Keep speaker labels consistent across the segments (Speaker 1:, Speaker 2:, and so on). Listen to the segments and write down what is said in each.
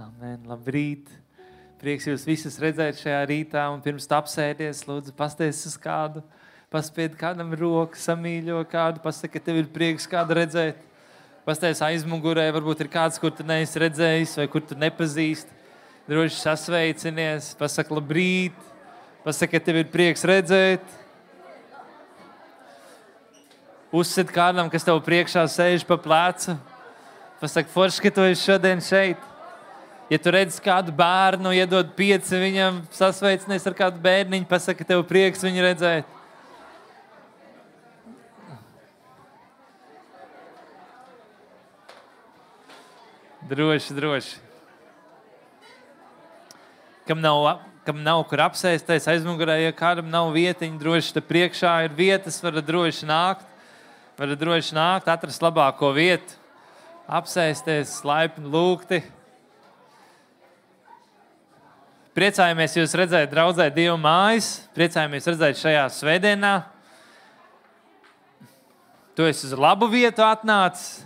Speaker 1: Amen. Labrīt! Prieks jūs visus redzēt šajā rītā. Un pirms tam apsēties, lūdzu, pasties uz kādu, paspied kādam roku, samīļo kādu, pasaki, ka tev ir prieks kādu redzēt. Pasties aizmugurē, varbūt ir kāds, kur tu neesi redzējis vai kur tu nepazīsti. Droši sasveicinies, pasaki, labrīt! Pasaki, ka tev ir prieks redzēt! uzsit kādam, kas tev priekšā sēž pa plecu. Pasaka, forši, ka tu esi šodien šeit. Ja tu redz kādu bērnu, iedod pieci viņam, sasveicinies ar kādu bērniņu, pasaka, tev prieks viņu redzēt. Droši, droši. Kam nav, kam nav kur apsēsties aizmugurē, ja kādam nav vietiņa, droši te priekšā ir vietas, var droši nākt varat droši nākt, atrast labāko vietu, apsēsties, laipni lūgti. Priecājamies jūs redzēt, draudzē, Dieva mājas. Priecājamies redzēt šajā svētdienā. Tu esi uz labu vietu atnācis,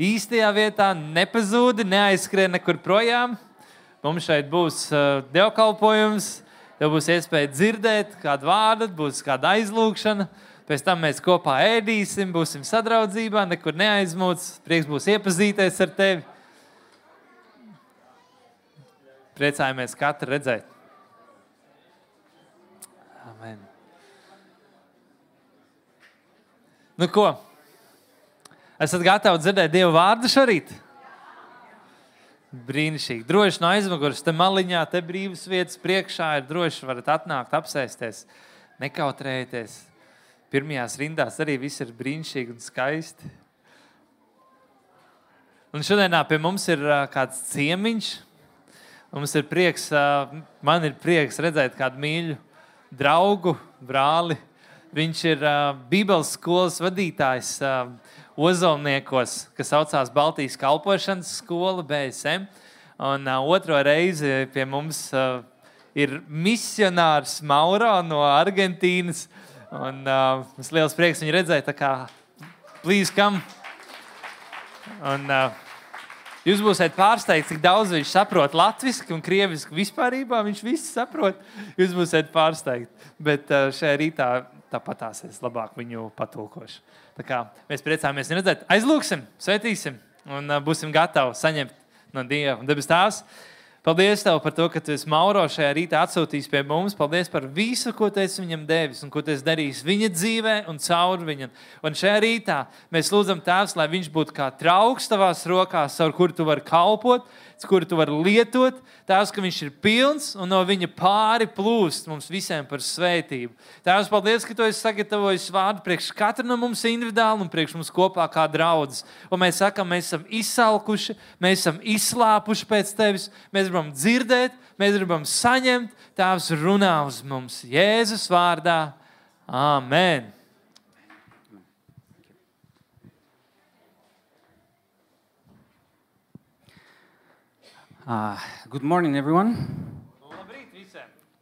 Speaker 1: īstajā vietā, nepazūdi, neaizskrien nekur projām. Mums šeit būs uh, dievkalpojums, tev būs iespēja dzirdēt kādu vārdu, būs kāda aizlūgšana. Pēc tam mēs kopā ēdīsim, būsim sadraudzībā, nekur neaizmūts. Prieks būs iepazīties ar tevi. Priecājamies katru redzēt. Amen. Nu, ko? Esat gatavi dzirdēt Dieva vārdu šorīt? Brīnišķīgi. Droši no aizmugures, te maliņā, te brīvas vietas priekšā ir droši. varat atnākt, apsēsties, nekautrēties pirmajās rindās arī viss ir brīnišķīgi un skaisti. Un šodienā pie mums ir uh, kāds ciemiņš. Mums ir prieks, uh, man ir prieks redzēt kādu mīļu draugu, brāli. Viņš ir uh, Bībeles skolas vadītājs uh, Ozolniekos, kas saucās Baltijas kalpošanas skola BSM. Un uh, otro reizi pie mums uh, ir misionārs Mauro no Argentīnas. Un, uh, mums ir liels prieks viņu redzēt. Tā kā plīs kam. Un, uh, jūs būsiet pārsteigti, cik daudz viņš saprot latviešu un krievisku vispār. Viņš visu saprot. Jūs būsiet pārsteigti. Bet uh, šajā rītā tāpatās es labāk viņu patulkošu. Tā kā mēs priecāmies viņu redzēt. Aizlūksim, sveitīsim un uh, būsim gatavi saņemt no Dieva un debes tās. Paldies tev par to, ka tu esi Mauro šajā rītā atsūtījis pie mums. Paldies par visu, ko tu esi viņam devis un ko tu esi darījis viņa dzīvē un caur viņam. Un šajā rītā mēs lūdzam Tēvs, lai viņš būtu kā trauks tavās rokās, ar kuru tu vari kalpot, kuru tu vari lietot. Tēvs, ka viņš ir pilns un no viņa pāri plūst mums visiem par svētību. Tēvs, paldies, ka tu esi sagatavojis vārdu priekš katra no mums individuāli un priekš mums kopā kā draudzes. Un mēs sakam, mēs esam izsalkuši, mēs esam izslāpuši pēc tevis. Mēs gribam dzirdēt, mēs gribam saņemt. Tēvs runā uz mums Jēzus vārdā. Amen!
Speaker 2: Uh, good morning, everyone.
Speaker 1: Nu,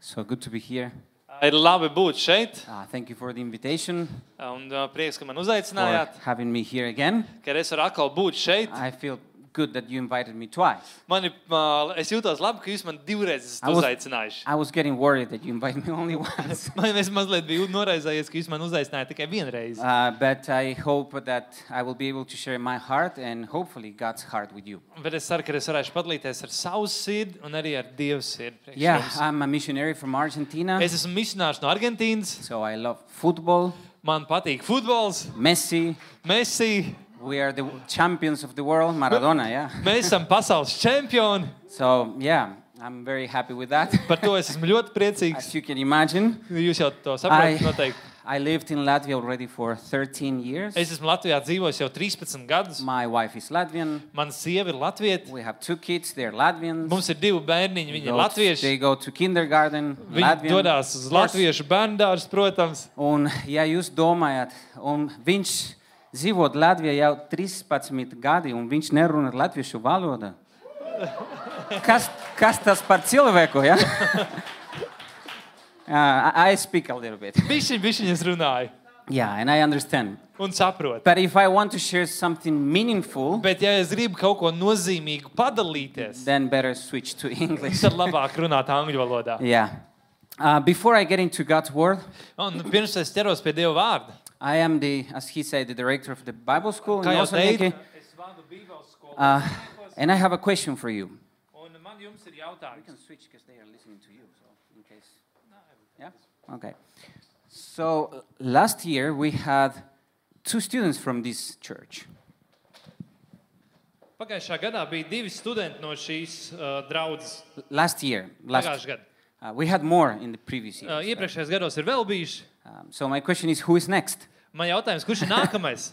Speaker 2: So good to be here.
Speaker 1: Ir labi būt šeit,
Speaker 2: Uh, thank you for the invitation,
Speaker 1: un uh, prieks, ka man
Speaker 2: for
Speaker 1: uzaicinājāt,
Speaker 2: having me here again.
Speaker 1: ka es varu atkal būt šeit.
Speaker 2: I feel good that you invited me twice.
Speaker 1: Man ir, uh, es jūtos labi, ka jūs man divreiz esat
Speaker 2: I was-
Speaker 1: uzaicinājuši.
Speaker 2: I was getting worried that you invited me only once.
Speaker 1: Man es mazliet biju noraizējies, ka jūs man uzaicinājāt tikai vienu reizi.
Speaker 2: Uh, but I hope that I will be able to share my heart and hopefully God's heart with you.
Speaker 1: Bet es ceru, ka es varēšu padalīties ar savu sirdi un arī ar Dievu sirdi. priekš
Speaker 2: Yeah,
Speaker 1: jums.
Speaker 2: I'm a missionary from Argentina,
Speaker 1: Es esmu misionārs no Argentīnas,
Speaker 2: so I love football,
Speaker 1: man patīk futbols,
Speaker 2: Messi.
Speaker 1: Messi.
Speaker 2: We are the champions of the world, Maradona, yeah.
Speaker 1: Mēs esam pasaules čempioni.
Speaker 2: So, yeah, I'm very happy with that.
Speaker 1: Par to es esmu ļoti priecīgs.
Speaker 2: As you can imagine,
Speaker 1: Jūs jau to saprotat,
Speaker 2: I,
Speaker 1: noteikti.
Speaker 2: I lived in Latvia already for 13 years.
Speaker 1: Es esmu Latvijā dzīvojis jau 13 gadus.
Speaker 2: My wife is Latvian.
Speaker 1: Mana sieva ir Latvija.
Speaker 2: We have two kids, they're Latvians.
Speaker 1: Mums ir divi bērniņi, viņi ir
Speaker 2: They go-
Speaker 1: latvieši.
Speaker 2: They go to kindergarten,
Speaker 1: Viņi
Speaker 2: Latvian.
Speaker 1: dodas uz latviešu bērnu dārstu, protams.
Speaker 2: Un, ja jūs domājat, un viņš dzīvo Latvijā jau 13 gadi, un viņš nerunā latviešu valodu, kas, kas tas par cilvēku, ja? uh, I I speak a little bit.
Speaker 1: Bišķiņ, bišķiņ es runāju.
Speaker 2: Yeah, and I understand.
Speaker 1: un saprotu.
Speaker 2: But if I want to share something meaningful,
Speaker 1: Bet, ja es gribu kaut ko nozīmīgu padalīties,
Speaker 2: then better switch to English.
Speaker 1: tad labāk runāt angļu valodā.
Speaker 2: yeah. Uh, before I get into God's Word,
Speaker 1: Un pirms es ķeros pie Dieva vārda,
Speaker 2: I am the, as he said, the director of the Bible school in
Speaker 1: kā jau teicu,
Speaker 2: Osadeki.
Speaker 1: es vadu Bībeles skolu.
Speaker 2: Uh, and I have a question for you.
Speaker 1: Un man jums ir jautājums.
Speaker 2: switch because they are listening to you, so in case. Yeah? Okay. So uh, last year we had two students from this church.
Speaker 1: Pagājušā gadā bija divi studenti no šīs uh, draudzes.
Speaker 2: L- Last year. Last,
Speaker 1: Pagājušā gada.
Speaker 2: uh, we had more in the previous year.
Speaker 1: Uh, iepriekšējos gados ir vēl bijuši.
Speaker 2: Um, so my question is who is next?
Speaker 1: Man jautājums, kurš ir nākamais?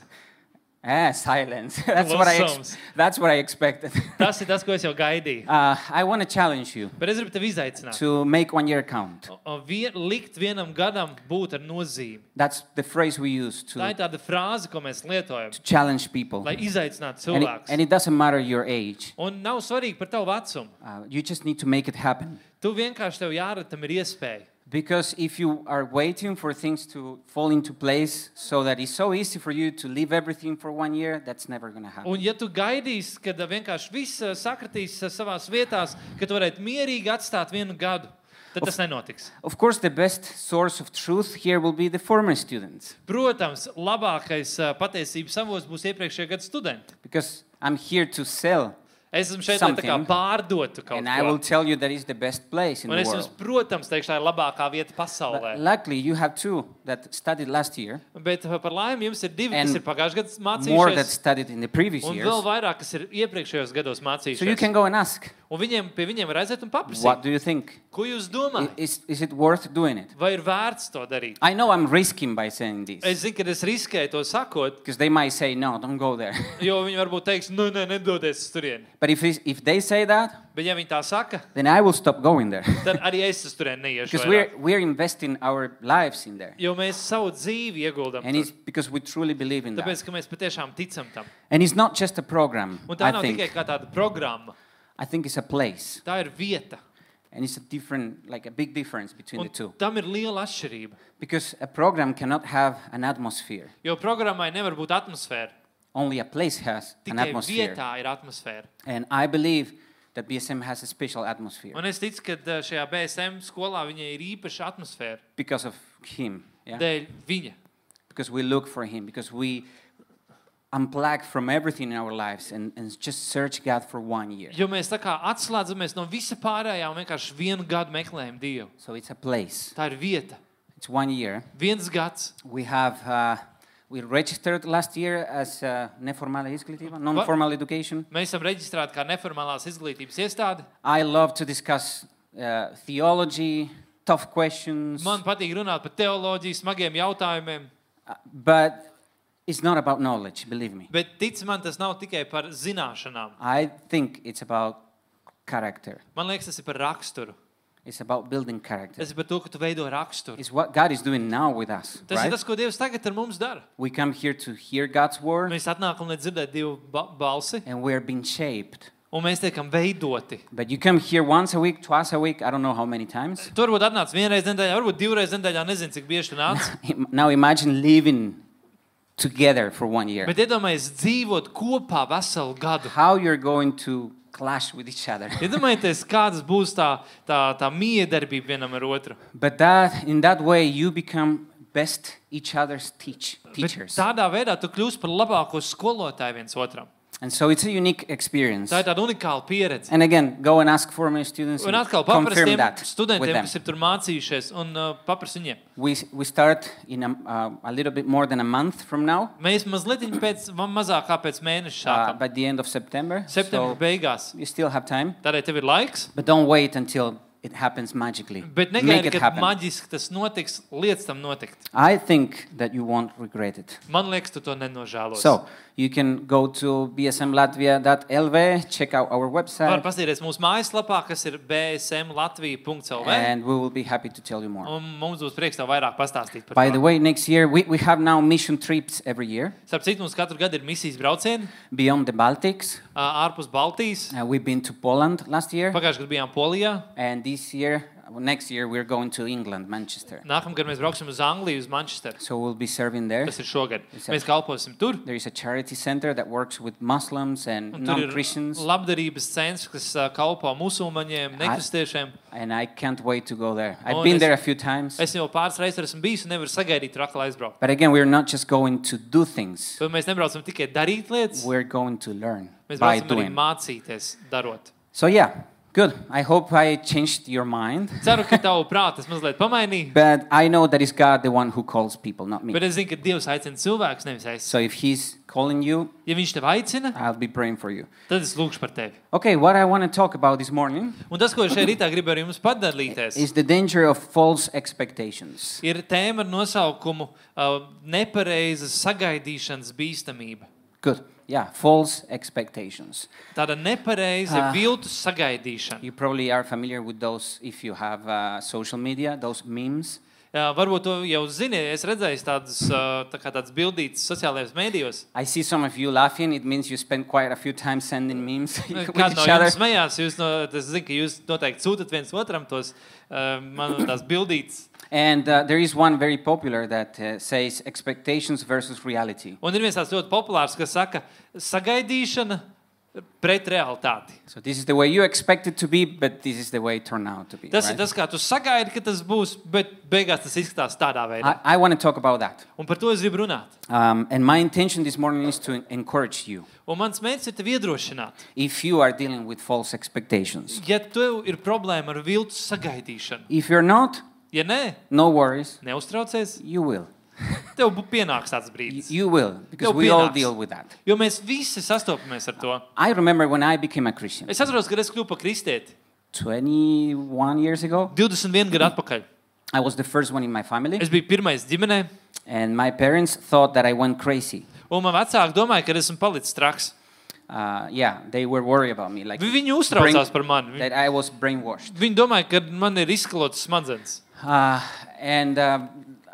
Speaker 2: Ah, silence. that's, what I ex-
Speaker 1: Blossoms.
Speaker 2: that's what I expected.
Speaker 1: Tas ir tas, ko es jau gaidīju.
Speaker 2: uh, I want to challenge you
Speaker 1: Bet es gribu tevi izaicināt.
Speaker 2: to make one year count.
Speaker 1: O- o, vie- Likt vienam gadam būt ar nozīmi.
Speaker 2: That's the phrase we use
Speaker 1: Tā
Speaker 2: to
Speaker 1: ir tāda frāze, ko mēs lietojam,
Speaker 2: challenge people.
Speaker 1: lai izaicinātu
Speaker 2: And it, and
Speaker 1: cilvēkus.
Speaker 2: it doesn't matter your age.
Speaker 1: Un nav svarīgi par tavu vecumu.
Speaker 2: Uh, you just need to make it happen.
Speaker 1: Tu vienkārši tev jārada tam ir iespēja.
Speaker 2: Because if you are waiting for things to fall into place so that it's so easy for you to leave everything for one year, that's never going to happen.
Speaker 1: Un, ja tu gaidīsi, kad ā, vienkārši viss ā, sakritīs savā vietā, ka tu varētu mierīgi atstāt vienu gadu, tad tas nenotiks.
Speaker 2: Of course, the best source of truth here will be the former students.
Speaker 1: Protams, labākais ā, patiesības avots būs iepriekšējā gada studenti.
Speaker 2: Because I'm here to sell,
Speaker 1: Es esmu šeit, lai tā kā
Speaker 2: Something.
Speaker 1: pārdotu kaut
Speaker 2: and I will
Speaker 1: ko.
Speaker 2: tell you that it's the best place in
Speaker 1: Un
Speaker 2: the
Speaker 1: es jums,
Speaker 2: world.
Speaker 1: protams, teikšu, tā ir labākā vieta
Speaker 2: But
Speaker 1: pasaulē.
Speaker 2: luckily, you have two that studied last year,
Speaker 1: Bet ā, par laimi jums ir divi,
Speaker 2: And
Speaker 1: kas ir pagājušajā gadā
Speaker 2: more that
Speaker 1: mācījušies,
Speaker 2: studied in the previous
Speaker 1: un
Speaker 2: years.
Speaker 1: vēl vairāk, kas ir iepriekšējos gados
Speaker 2: So you
Speaker 1: mācījušies.
Speaker 2: can go and ask,
Speaker 1: Un viņiem, pie viņiem var aiziet un
Speaker 2: what
Speaker 1: paprasīt,
Speaker 2: do you think?
Speaker 1: ko jūs
Speaker 2: I-
Speaker 1: domājat?
Speaker 2: Is, is it worth doing it?
Speaker 1: Vai ir vērts to darīt?
Speaker 2: I know I'm risking by saying this
Speaker 1: Es zinu, ka es riskēju to sakot,
Speaker 2: because they might say, no, don't go there.
Speaker 1: Jo viņi varbūt teiks, nu, nē, nedodies uz turieni.
Speaker 2: But if, it's- if they say that,
Speaker 1: Bet, ja viņi tā saka,
Speaker 2: then I will stop going there.
Speaker 1: tad arī es uz turieni neiešu.
Speaker 2: Because we're,
Speaker 1: vairāk.
Speaker 2: we're investing our lives in there.
Speaker 1: Jo mēs savu dzīvi ieguldām.
Speaker 2: And it's because we truly believe in that.
Speaker 1: Tāpēc, ka mēs patiešām ticam tam.
Speaker 2: And it's not just a program,
Speaker 1: Un tā
Speaker 2: I
Speaker 1: nav tikai
Speaker 2: think.
Speaker 1: kā tāda programma,
Speaker 2: I think it's a place.
Speaker 1: tā ir vieta.
Speaker 2: And it's a different, like a big difference between
Speaker 1: Un
Speaker 2: the two.
Speaker 1: tam ir liela atšķirība.
Speaker 2: Because a program cannot have an atmosphere.
Speaker 1: Jo programmai nevar būt atmosfēra.
Speaker 2: Only a place has an
Speaker 1: Tikai
Speaker 2: atmosphere.
Speaker 1: vietā ir atmosfēra.
Speaker 2: And I believe that BSM has a special atmosphere
Speaker 1: Un es ticu, ka eh, šajā BSM skolā viņai ir īpaša atmosfēra.
Speaker 2: because of him.
Speaker 1: Yeah.
Speaker 2: Yeah?
Speaker 1: Dēļ viņa.
Speaker 2: Because we look for him, because we unplug from everything in our lives and, and just search God for one year.
Speaker 1: Jo mēs tā kā atslēdzamies no visa pārējā un vienkārši vienu gadu meklējam Dievu.
Speaker 2: So it's a place.
Speaker 1: Tā ir vieta.
Speaker 2: It's one year.
Speaker 1: Viens gads.
Speaker 2: We have uh, we registered last year as uh, neformale izglītība, non-formal education.
Speaker 1: Mēs esam reģistrēti kā neformālās izglītības iestāde.
Speaker 2: I love to discuss uh, theology, tough questions,
Speaker 1: Man patīk runāt par teoloģiju, smagiem jautājumiem,
Speaker 2: uh, but it's not about knowledge, believe me.
Speaker 1: bet tic man, tas nav tikai par zināšanām.
Speaker 2: I think it's about character.
Speaker 1: Man liekas, tas ir par raksturu.
Speaker 2: It's about building character.
Speaker 1: Tas ir par to, ka tu veido raksturu.
Speaker 2: It's what God is doing now with us,
Speaker 1: Tas
Speaker 2: right?
Speaker 1: ir tas, ko Dievs tagad ar mums dara.
Speaker 2: We come here to hear God's word,
Speaker 1: Mēs atnākam, lai dzirdētu Dieva ba balsi,
Speaker 2: and we are being shaped.
Speaker 1: un mēs tiekam veidoti.
Speaker 2: But you come here once a week, twice a week, I don't know how many times.
Speaker 1: Tur varbūt atnāc vienreiz nedēļā, varbūt divreiz nedēļā, nezinu, cik bieži tu nāc.
Speaker 2: Im- Now imagine living together for one year.
Speaker 1: Bet iedomājieties, dzīvot kopā veselu gadu.
Speaker 2: How you're going to clash with each other.
Speaker 1: Iedomājieties, kādas būs tā, tā, tā miedarbība vienam ar otru.
Speaker 2: But that in that way you become best each other's teach,
Speaker 1: Bet
Speaker 2: teachers.
Speaker 1: Tādā veidā tu kļūsi par labāko skolotāju viens otram.
Speaker 2: And so it's a unique experience.
Speaker 1: Tā ir tāda unikāla pieredze.
Speaker 2: And again, go and ask former students
Speaker 1: Un
Speaker 2: and
Speaker 1: atkal
Speaker 2: confirm
Speaker 1: paprastiem
Speaker 2: that with
Speaker 1: studentiem,
Speaker 2: them.
Speaker 1: kas ir tur mācījušies, un uh, paprasti viņiem.
Speaker 2: We, we start in a, uh, a little bit more than a month from now,
Speaker 1: Mēs mazliet viņu pēc, ma- mazāk kā pēc mēneša
Speaker 2: uh,
Speaker 1: sākām.
Speaker 2: by the end of September.
Speaker 1: Septembra
Speaker 2: So
Speaker 1: beigās.
Speaker 2: you still have time.
Speaker 1: Tādēļ tev ir laiks.
Speaker 2: But don't wait until it happens magically.
Speaker 1: Bet
Speaker 2: Make
Speaker 1: negaidi,
Speaker 2: it
Speaker 1: ka
Speaker 2: happen.
Speaker 1: maģiski tas notiks, lietas tam notikt.
Speaker 2: I think that you won't regret it.
Speaker 1: Man liekas, tu to nenožēlos.
Speaker 2: So you can go to bsmlatvia.lv, check out our
Speaker 1: Var
Speaker 2: website,
Speaker 1: paskatīties mūsu mājaslapā, kas ir bsmlatvija.lv.
Speaker 2: and we will be happy to tell you more.
Speaker 1: Un mums būs prieks tev vairāk pastāstīt par
Speaker 2: By
Speaker 1: to.
Speaker 2: the way, next year we, we have now mission trips every year
Speaker 1: Starp citu, mums katru gadu ir misijas braucieni
Speaker 2: beyond the Baltics.
Speaker 1: ā, ārpus Baltijas.
Speaker 2: Uh, we've been to Poland last year,
Speaker 1: Pagājušajā gadā bijām Polijā,
Speaker 2: and this year next year we're going to England, Manchester.
Speaker 1: Nākamgad mēs brauksim uz Angliju, uz Manchesteru.
Speaker 2: So we'll be serving there.
Speaker 1: Tas ir šogad. Mēs kalposim tur.
Speaker 2: There is a charity center that works with Muslims and
Speaker 1: Un tur
Speaker 2: non
Speaker 1: ir
Speaker 2: Christians,
Speaker 1: labdarības centrs, kas ā, kalpo musulmaņiem, nekristiešiem.
Speaker 2: and I can't wait to go there.
Speaker 1: Un
Speaker 2: I've been
Speaker 1: es-
Speaker 2: there a few times.
Speaker 1: Es jau pāris reizes tur esmu bijis un nevaru sagaidīt, tur atkal aizbraukt.
Speaker 2: But again, we're not just going to do things,
Speaker 1: Tad mēs nebraucam tikai darīt lietas,
Speaker 2: we're going to learn
Speaker 1: mēs
Speaker 2: by
Speaker 1: braucam arī
Speaker 2: doing.
Speaker 1: mācīties, darot.
Speaker 2: So, yeah, good. I hope I changed your mind.
Speaker 1: Ceru, ka tavu prātu es mazliet pamainīju,
Speaker 2: But I know that it's God the one who calls people, not me.
Speaker 1: bet es zinu, ka Dievs aicina cilvēkus, nevis es.
Speaker 2: So, if He's calling you,
Speaker 1: Ja Viņš tevi aicina,
Speaker 2: I'll be praying for you.
Speaker 1: tad es lūgšu par tevi.
Speaker 2: Okay, what I want to talk about this morning
Speaker 1: Un tas, ko es šeit rītā gribu ar jums padalīties,
Speaker 2: is the danger of false expectations.
Speaker 1: ir tēma ar nosaukumu uh, Nepareizas sagaidīšanas bīstamība.
Speaker 2: Good. Yeah, false expectations.
Speaker 1: Tāda nepareiza,
Speaker 2: Ah.
Speaker 1: viltus sagaidīšana.
Speaker 2: You probably are familiar with those if you have uh, social media, those memes.
Speaker 1: Jā, varbūt to jau zini, es redzēju tādas tā kā tādas bildītas sociālajās mēdījos.
Speaker 2: I see some of you laughing. It means you spend quite a few time sending memes with
Speaker 1: Kāda no
Speaker 2: each
Speaker 1: jums
Speaker 2: other.
Speaker 1: smējās? Jūs no, es zinu, ka jūs noteikti sūtat viens otram tos uh, manu tās bildītas.
Speaker 2: And uh, there is one very popular that uh, says expectations versus reality.
Speaker 1: Un ir viens tāds ļoti populārs, kas saka, sagaidīšana pret realitāti.
Speaker 2: So this is the way you expect it to be, but this is the way it turned out to be.
Speaker 1: Tas
Speaker 2: right?
Speaker 1: ir tas, kā tu sagaidi, ka tas būs, bet beigās tas izskatās tādā veidā.
Speaker 2: I, I want to talk about that.
Speaker 1: Un par to es gribu runāt.
Speaker 2: Um, and my intention this morning is to encourage you
Speaker 1: Un mans mērķis ir tevi iedrošināt.
Speaker 2: if you are dealing with false expectations.
Speaker 1: Ja tev ir problēma ar viltus sagaidīšanu,
Speaker 2: If you're not,
Speaker 1: ja nē,
Speaker 2: no worries,
Speaker 1: neuztraucies,
Speaker 2: you will.
Speaker 1: tev būs pienāks tāds
Speaker 2: You,
Speaker 1: brīdis.
Speaker 2: you will, because
Speaker 1: You'll
Speaker 2: we
Speaker 1: be
Speaker 2: all
Speaker 1: nuts.
Speaker 2: deal with that.
Speaker 1: Jo mēs visi sastopamies ar to.
Speaker 2: I remember when I became a Christian
Speaker 1: Es atceros, kad es kļuvu par kristieti
Speaker 2: 21 years ago.
Speaker 1: 21 gadu atpakaļ.
Speaker 2: I was the first one in my family,
Speaker 1: Es biju pirmais ģimenē,
Speaker 2: and my parents thought that I went crazy.
Speaker 1: un man vecāki domāja, ka esmu palicis traks.
Speaker 2: Uh, yeah, they were worried about me, like
Speaker 1: Vi- Viņi
Speaker 2: brain-
Speaker 1: uztraucās par mani. Vi-
Speaker 2: that I was brainwashed.
Speaker 1: Viņi domāja, ka man ir izskalots smadzenes.
Speaker 2: Uh, and uh,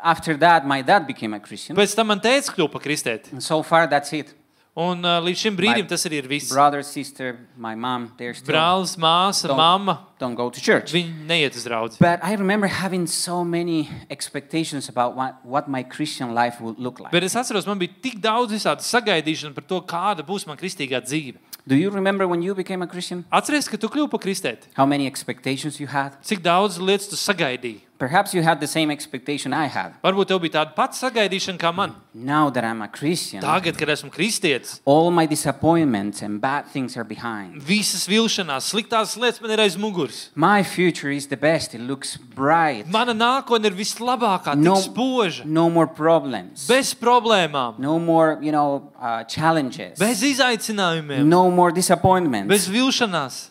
Speaker 2: after that, my dad became a Christian.
Speaker 1: Pēc tam man teica, kļuva par kristieti.
Speaker 2: And so far, that's it.
Speaker 1: Un uh, līdz šim brīdim
Speaker 2: My
Speaker 1: tas arī ir viss.
Speaker 2: Brother, sister, my mom, they're still
Speaker 1: Brālis, māsa,
Speaker 2: Don't.
Speaker 1: mamma,
Speaker 2: don't go to church.
Speaker 1: viņi neiet uz draugu.
Speaker 2: But I remember having so many expectations about what, what my Christian life would look like.
Speaker 1: Bet es atceros, man bija tik daudz visādi sagaidīšana par to, kāda būs mana kristīgā dzīve.
Speaker 2: Do you remember when you became a Christian?
Speaker 1: Atceries, ka tu kļuvi par kristieti.
Speaker 2: How many expectations you had?
Speaker 1: Cik daudz lietas tu sagaidīji?
Speaker 2: Perhaps you had the same expectation I had.
Speaker 1: Varbūt tev bija tāda pati sagaidīšana kā man.
Speaker 2: Now that I'm a Christian,
Speaker 1: Tagad, kad esmu kristietis,
Speaker 2: all my disappointments and bad things are behind.
Speaker 1: visas vilšanās, sliktās lietas man ir aiz muguras.
Speaker 2: My future is the best. It looks bright.
Speaker 1: Mana nākotne ir vislabākā, no.
Speaker 2: No-
Speaker 1: tik spoža,
Speaker 2: No more problems.
Speaker 1: bez problēmām,
Speaker 2: No more, you know, uh, challenges.
Speaker 1: bez izaicinājumiem,
Speaker 2: No more disappointments.
Speaker 1: bez vilšanās.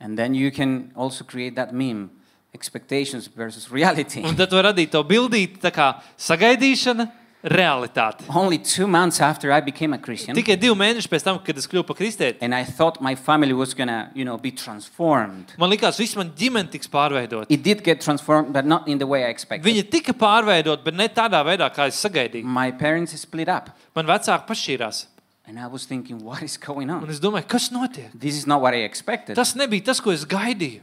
Speaker 2: And then you can also create that meme, expectations versus reality.
Speaker 1: Un tad var radīt to bildīti, tā kā sagaidīšana, realitāte.
Speaker 2: Only two months after I became a Christian,
Speaker 1: Tikai divi mēneši pēc tam, kad es kļuvu par kristieti,
Speaker 2: and I thought my family was gonna, you know, be transformed.
Speaker 1: man likās, ka viss man ģimene tiks pārveidot.
Speaker 2: It did get transformed, but not in the way I expected.
Speaker 1: Viņa tika pārveidot, bet ne tādā veidā, kā es sagaidīju.
Speaker 2: My parents split up,
Speaker 1: Man vecāki pašķīrās.
Speaker 2: and I was thinking, what is going
Speaker 1: Un
Speaker 2: on?
Speaker 1: es domāju, kas notiek?
Speaker 2: This is not what I expected.
Speaker 1: Tas nebija tas, ko es gaidīju.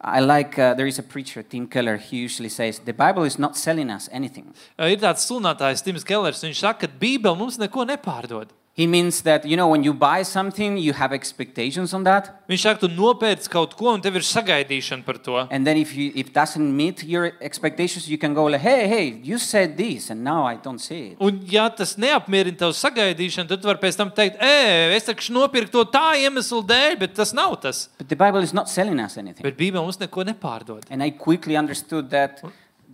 Speaker 2: I like, uh, there is a preacher, Tim Keller, he usually says, the Bible is not selling us anything.
Speaker 1: Ir tāds sludinātājs, Tims Kellers. Viņš saka, ka Bībele mums neko nepārdod.
Speaker 2: He means that, you know, when you buy something, you have expectations on that.
Speaker 1: Viņš saka, tu nopērci kaut ko, un tev ir sagaidīšana par to.
Speaker 2: And then if you if doesn't meet your expectations, you can go like, hey, hey, you said this, and now I don't see it.
Speaker 1: Un, ja tas neapmierina tavu sagaidīšanu, tad tu vari pēc tam teikt, ej, es taču nopirku to tā iemesla dēļ, bet tas nav tas.
Speaker 2: But the Bible is not selling us anything.
Speaker 1: Bet Bībele mums neko nepārdod.
Speaker 2: And I quickly understood that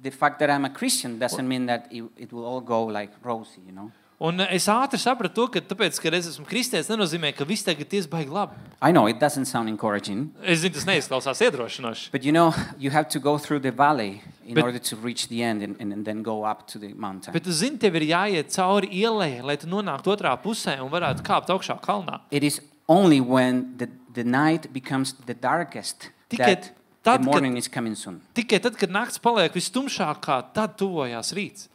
Speaker 2: the fact that I'm a Christian doesn't mean that it, it will all go like rosy, you know.
Speaker 1: Un eh, es ātri sapratu, to, ka tāpēc, ka es esmu kristietis, nenozīmē, ka viss tagad ir baigi labi.
Speaker 2: I know it doesn't sound encouraging,
Speaker 1: Es zinu, tas neizklausās iedrošinoši.
Speaker 2: but you know, you have to go through the valley in
Speaker 1: But-
Speaker 2: order to reach the end and, and, and then go up to the mountain.
Speaker 1: Bet tu zini, tev ir jāiet cauri ielai, lai tu nonāktu otrā pusē un varētu kāpt augšā kalnā.
Speaker 2: It is only when the, the night becomes the darkest
Speaker 1: Tikai
Speaker 2: that
Speaker 1: tad,
Speaker 2: the
Speaker 1: kad-
Speaker 2: morning is coming soon.
Speaker 1: Tikai tad, kad naktis paliek vistumšākā, tad tuvojās rīts.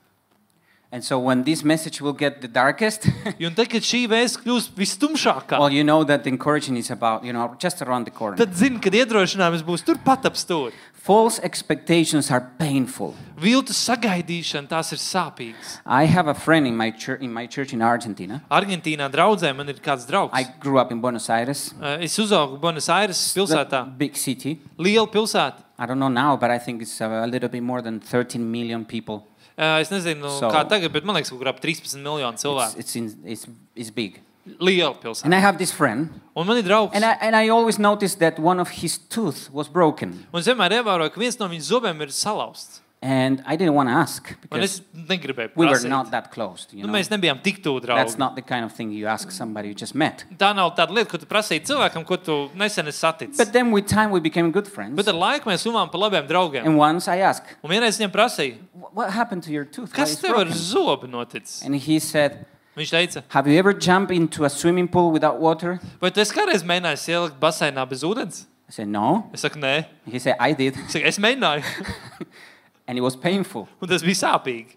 Speaker 2: And so when this message will get the darkest,
Speaker 1: Ja Un tad, kad šī vēsts kļūs visstumšākā,
Speaker 2: well, you know that encouraging is about, you know, just around the corner.
Speaker 1: tad zini, ka iedrošinājums būs turpat ap stūri.
Speaker 2: False expectations are painful.
Speaker 1: Viltu sagaidīšana, tās ir sāpīgas.
Speaker 2: I have a friend in my, chur- in my church in Argentina.
Speaker 1: Argentīnā draudzē man ir kāds draugs.
Speaker 2: I grew up in Buenos Aires,
Speaker 1: Eh, Es uzaugu Buenos Aires pilsētā,
Speaker 2: the big city.
Speaker 1: liela pilsēta.
Speaker 2: I don't know now, but I think it's uh, a little bit more than 13 million people.
Speaker 1: Eh, Es nezinu, so,
Speaker 2: So-
Speaker 1: kā tagad, bet man liekas, ka tur ap 13 miljonu
Speaker 2: It's,
Speaker 1: cilvēku.
Speaker 2: it's, in, it's, it's big.
Speaker 1: Liela pilsēta.
Speaker 2: And I have this friend,
Speaker 1: Un man ir draugs.
Speaker 2: and I, and I always noticed that one of his tooth was broken.
Speaker 1: Un es vienmēr ievēroju, ka viens no viņas zobiem ir salauzts.
Speaker 2: And I didn't want to ask
Speaker 1: Un es
Speaker 2: because
Speaker 1: negribēju
Speaker 2: we were
Speaker 1: prasīt.
Speaker 2: not that close. You
Speaker 1: Nu,
Speaker 2: know?
Speaker 1: mēs nebijām tik tuvu
Speaker 2: That's
Speaker 1: draugiem.
Speaker 2: not the kind of thing you ask somebody you just met.
Speaker 1: Tā nav tāda lieta, ko tu prasīji cilvēkam, ko tu nesen esi saticis.
Speaker 2: But then with time we became good friends.
Speaker 1: Bet ar laiku mēs runājam par labiem draugiem.
Speaker 2: And once I asked,
Speaker 1: Un vienreiz viņam prasīja,
Speaker 2: "Wh- What happened to your tooth? Why
Speaker 1: kas
Speaker 2: it's
Speaker 1: tev ar
Speaker 2: broken?"
Speaker 1: zobu noticis?
Speaker 2: And he said,
Speaker 1: Viņš teica,
Speaker 2: Have you ever jumped into a swimming pool without water?
Speaker 1: vai tu esi kādreiz mēģinājis ielikt basēnā bez ūdens?
Speaker 2: I said, No.
Speaker 1: Es saku, nē,
Speaker 2: He said, I did.
Speaker 1: es, saku, es mēģināju,
Speaker 2: And it was painful.
Speaker 1: un tas bija sāpīgi.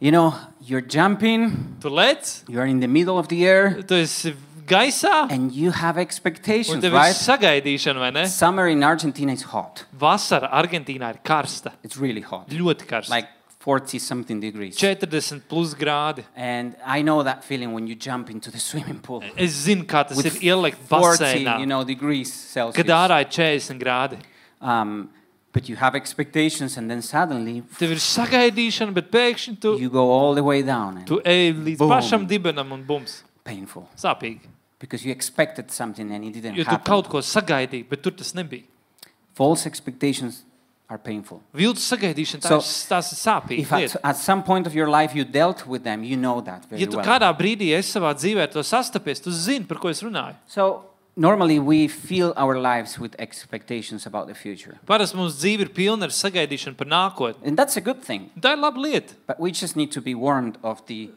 Speaker 2: You know, you're jumping,
Speaker 1: Tu lec,
Speaker 2: you're in the middle of the air,
Speaker 1: tu esi gaisā,
Speaker 2: and you have
Speaker 1: un
Speaker 2: expectations,
Speaker 1: tev ir
Speaker 2: right?
Speaker 1: sagaidīšana, vai ne?
Speaker 2: Summer in Argentina is hot.
Speaker 1: Vasara Argentīnā ir karsta,
Speaker 2: It's really hot,
Speaker 1: ļoti karsta.
Speaker 2: like 40 something degrees.
Speaker 1: 40 plus grādi.
Speaker 2: And I know that feeling when you jump into the swimming pool.
Speaker 1: Es zinu, kā tas
Speaker 2: with
Speaker 1: ir ielikt
Speaker 2: 40,
Speaker 1: basēnā,
Speaker 2: you know, degrees
Speaker 1: kad
Speaker 2: Celsius.
Speaker 1: ārā ir 40 grādi.
Speaker 2: Um, but you have expectations, and then suddenly
Speaker 1: Tev ir sagaidīšana, bet pēkšņi tu,
Speaker 2: you go all the way down. And
Speaker 1: tu ej līdz
Speaker 2: Bum.
Speaker 1: pašam dibenam un bums.
Speaker 2: painful
Speaker 1: Sāpīgi.
Speaker 2: because you expected something and it didn't
Speaker 1: Jo tu
Speaker 2: happen.
Speaker 1: kaut ko sagaidīji, bet tur tas nebija.
Speaker 2: False expectations are painful.
Speaker 1: Viltus sagaidīšana,
Speaker 2: So,
Speaker 1: tā so, tās ir sāpīgi.
Speaker 2: If at, at some point of your life you dealt with them, you know that very
Speaker 1: Ja tu
Speaker 2: well.
Speaker 1: kādā brīdī esi savā dzīvē ar to sastapies, tu zini, par ko es runāju.
Speaker 2: So normally we fill our lives with expectations about the future,
Speaker 1: Parasti mums dzīve ir pilna ar sagaidīšanu par nākotni.
Speaker 2: and that's a good thing.
Speaker 1: Un Tā ir laba lieta,
Speaker 2: But we just need to be warned of the,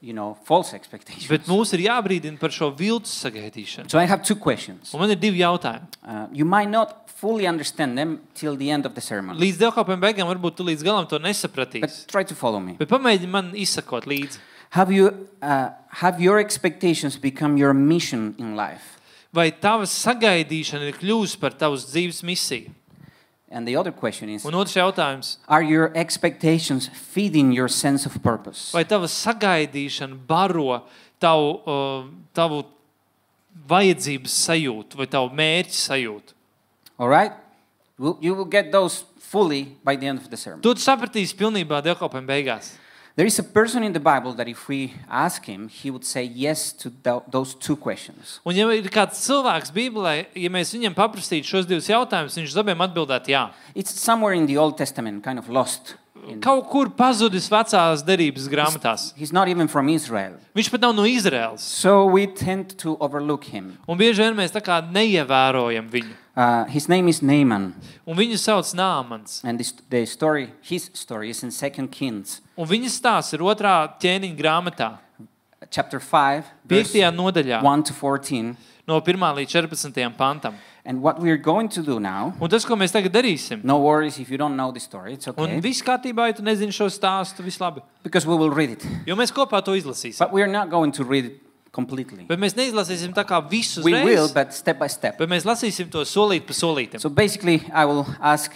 Speaker 2: you know, false expectations.
Speaker 1: bet mums ir jābrīdina par šo viltus sagaidīšanu.
Speaker 2: So I have two questions.
Speaker 1: Un man ir divi jautājumi.
Speaker 2: Uh, you might not fully understand them till the end of the sermon,
Speaker 1: Līdz dievkalpojuma beigām varbūt tu līdz galam to
Speaker 2: but
Speaker 1: nesapratīsi.
Speaker 2: try to follow me.
Speaker 1: Bet pamēģini man izsakot līdzi.
Speaker 2: Have you uh, have your expectations become your mission in life?
Speaker 1: Vai tava sagaidīšana ir kļuvusi par tavas dzīves misiju?
Speaker 2: And the other question is:
Speaker 1: Un otrs jautājums.
Speaker 2: Are your expectations feeding your sense of purpose?
Speaker 1: Vai tava sagaidīšana baro tavu, uh, tavu vajadzības sajūtu vai tavu mērķu sajūtu?
Speaker 2: All right, Will- you will get those fully by the end of the sermon.
Speaker 1: To tu sapratīsi pilnībā dievkalpojuma beigās.
Speaker 2: There is a person in the Bible that, if we ask him, he would say yes to tho- those two questions.
Speaker 1: Un, ja ir kāds cilvēks Bībelē, ja mēs viņam paprastītu šos divus jautājumus, viņš uz abiem atbildētu jā.
Speaker 2: It's somewhere in the Old Testament, kind of lost. In,
Speaker 1: Kaut kur pazudis vecās derības grāmatās.
Speaker 2: he's not even from Israel,
Speaker 1: Viņš pat nav no Izraels.
Speaker 2: so we tend to overlook him.
Speaker 1: Un bieži vien mēs tā kā neievērojam viņu.
Speaker 2: Uh, his name is Naaman,
Speaker 1: Un viņu sauc Nāmans.
Speaker 2: and this, the story, his story, is in Second Kings,
Speaker 1: Un viņa stāsts ir otrā ķēniņa grāmatā,
Speaker 2: chapter five, verse
Speaker 1: 5. nodaļā,
Speaker 2: one to fourteen.
Speaker 1: no 1 līdz 14 pantam.
Speaker 2: And what we're going to do now
Speaker 1: Un tas, ko mēs tagad darīsim,
Speaker 2: No worries if you don't know the story, it's
Speaker 1: un
Speaker 2: okay.
Speaker 1: viss kārtībā, ja tu nezini šo stāstu, viss labi.
Speaker 2: Because we will read it.
Speaker 1: Jo mēs kopā to izlasīsim.
Speaker 2: But we are not going to read it completely.
Speaker 1: Bet mēs neizlasīsim tā kā visu
Speaker 2: We will,
Speaker 1: uzreiz,
Speaker 2: but step by step.
Speaker 1: bet mēs lasīsim to solīt pa solītam.
Speaker 2: So basically, I will ask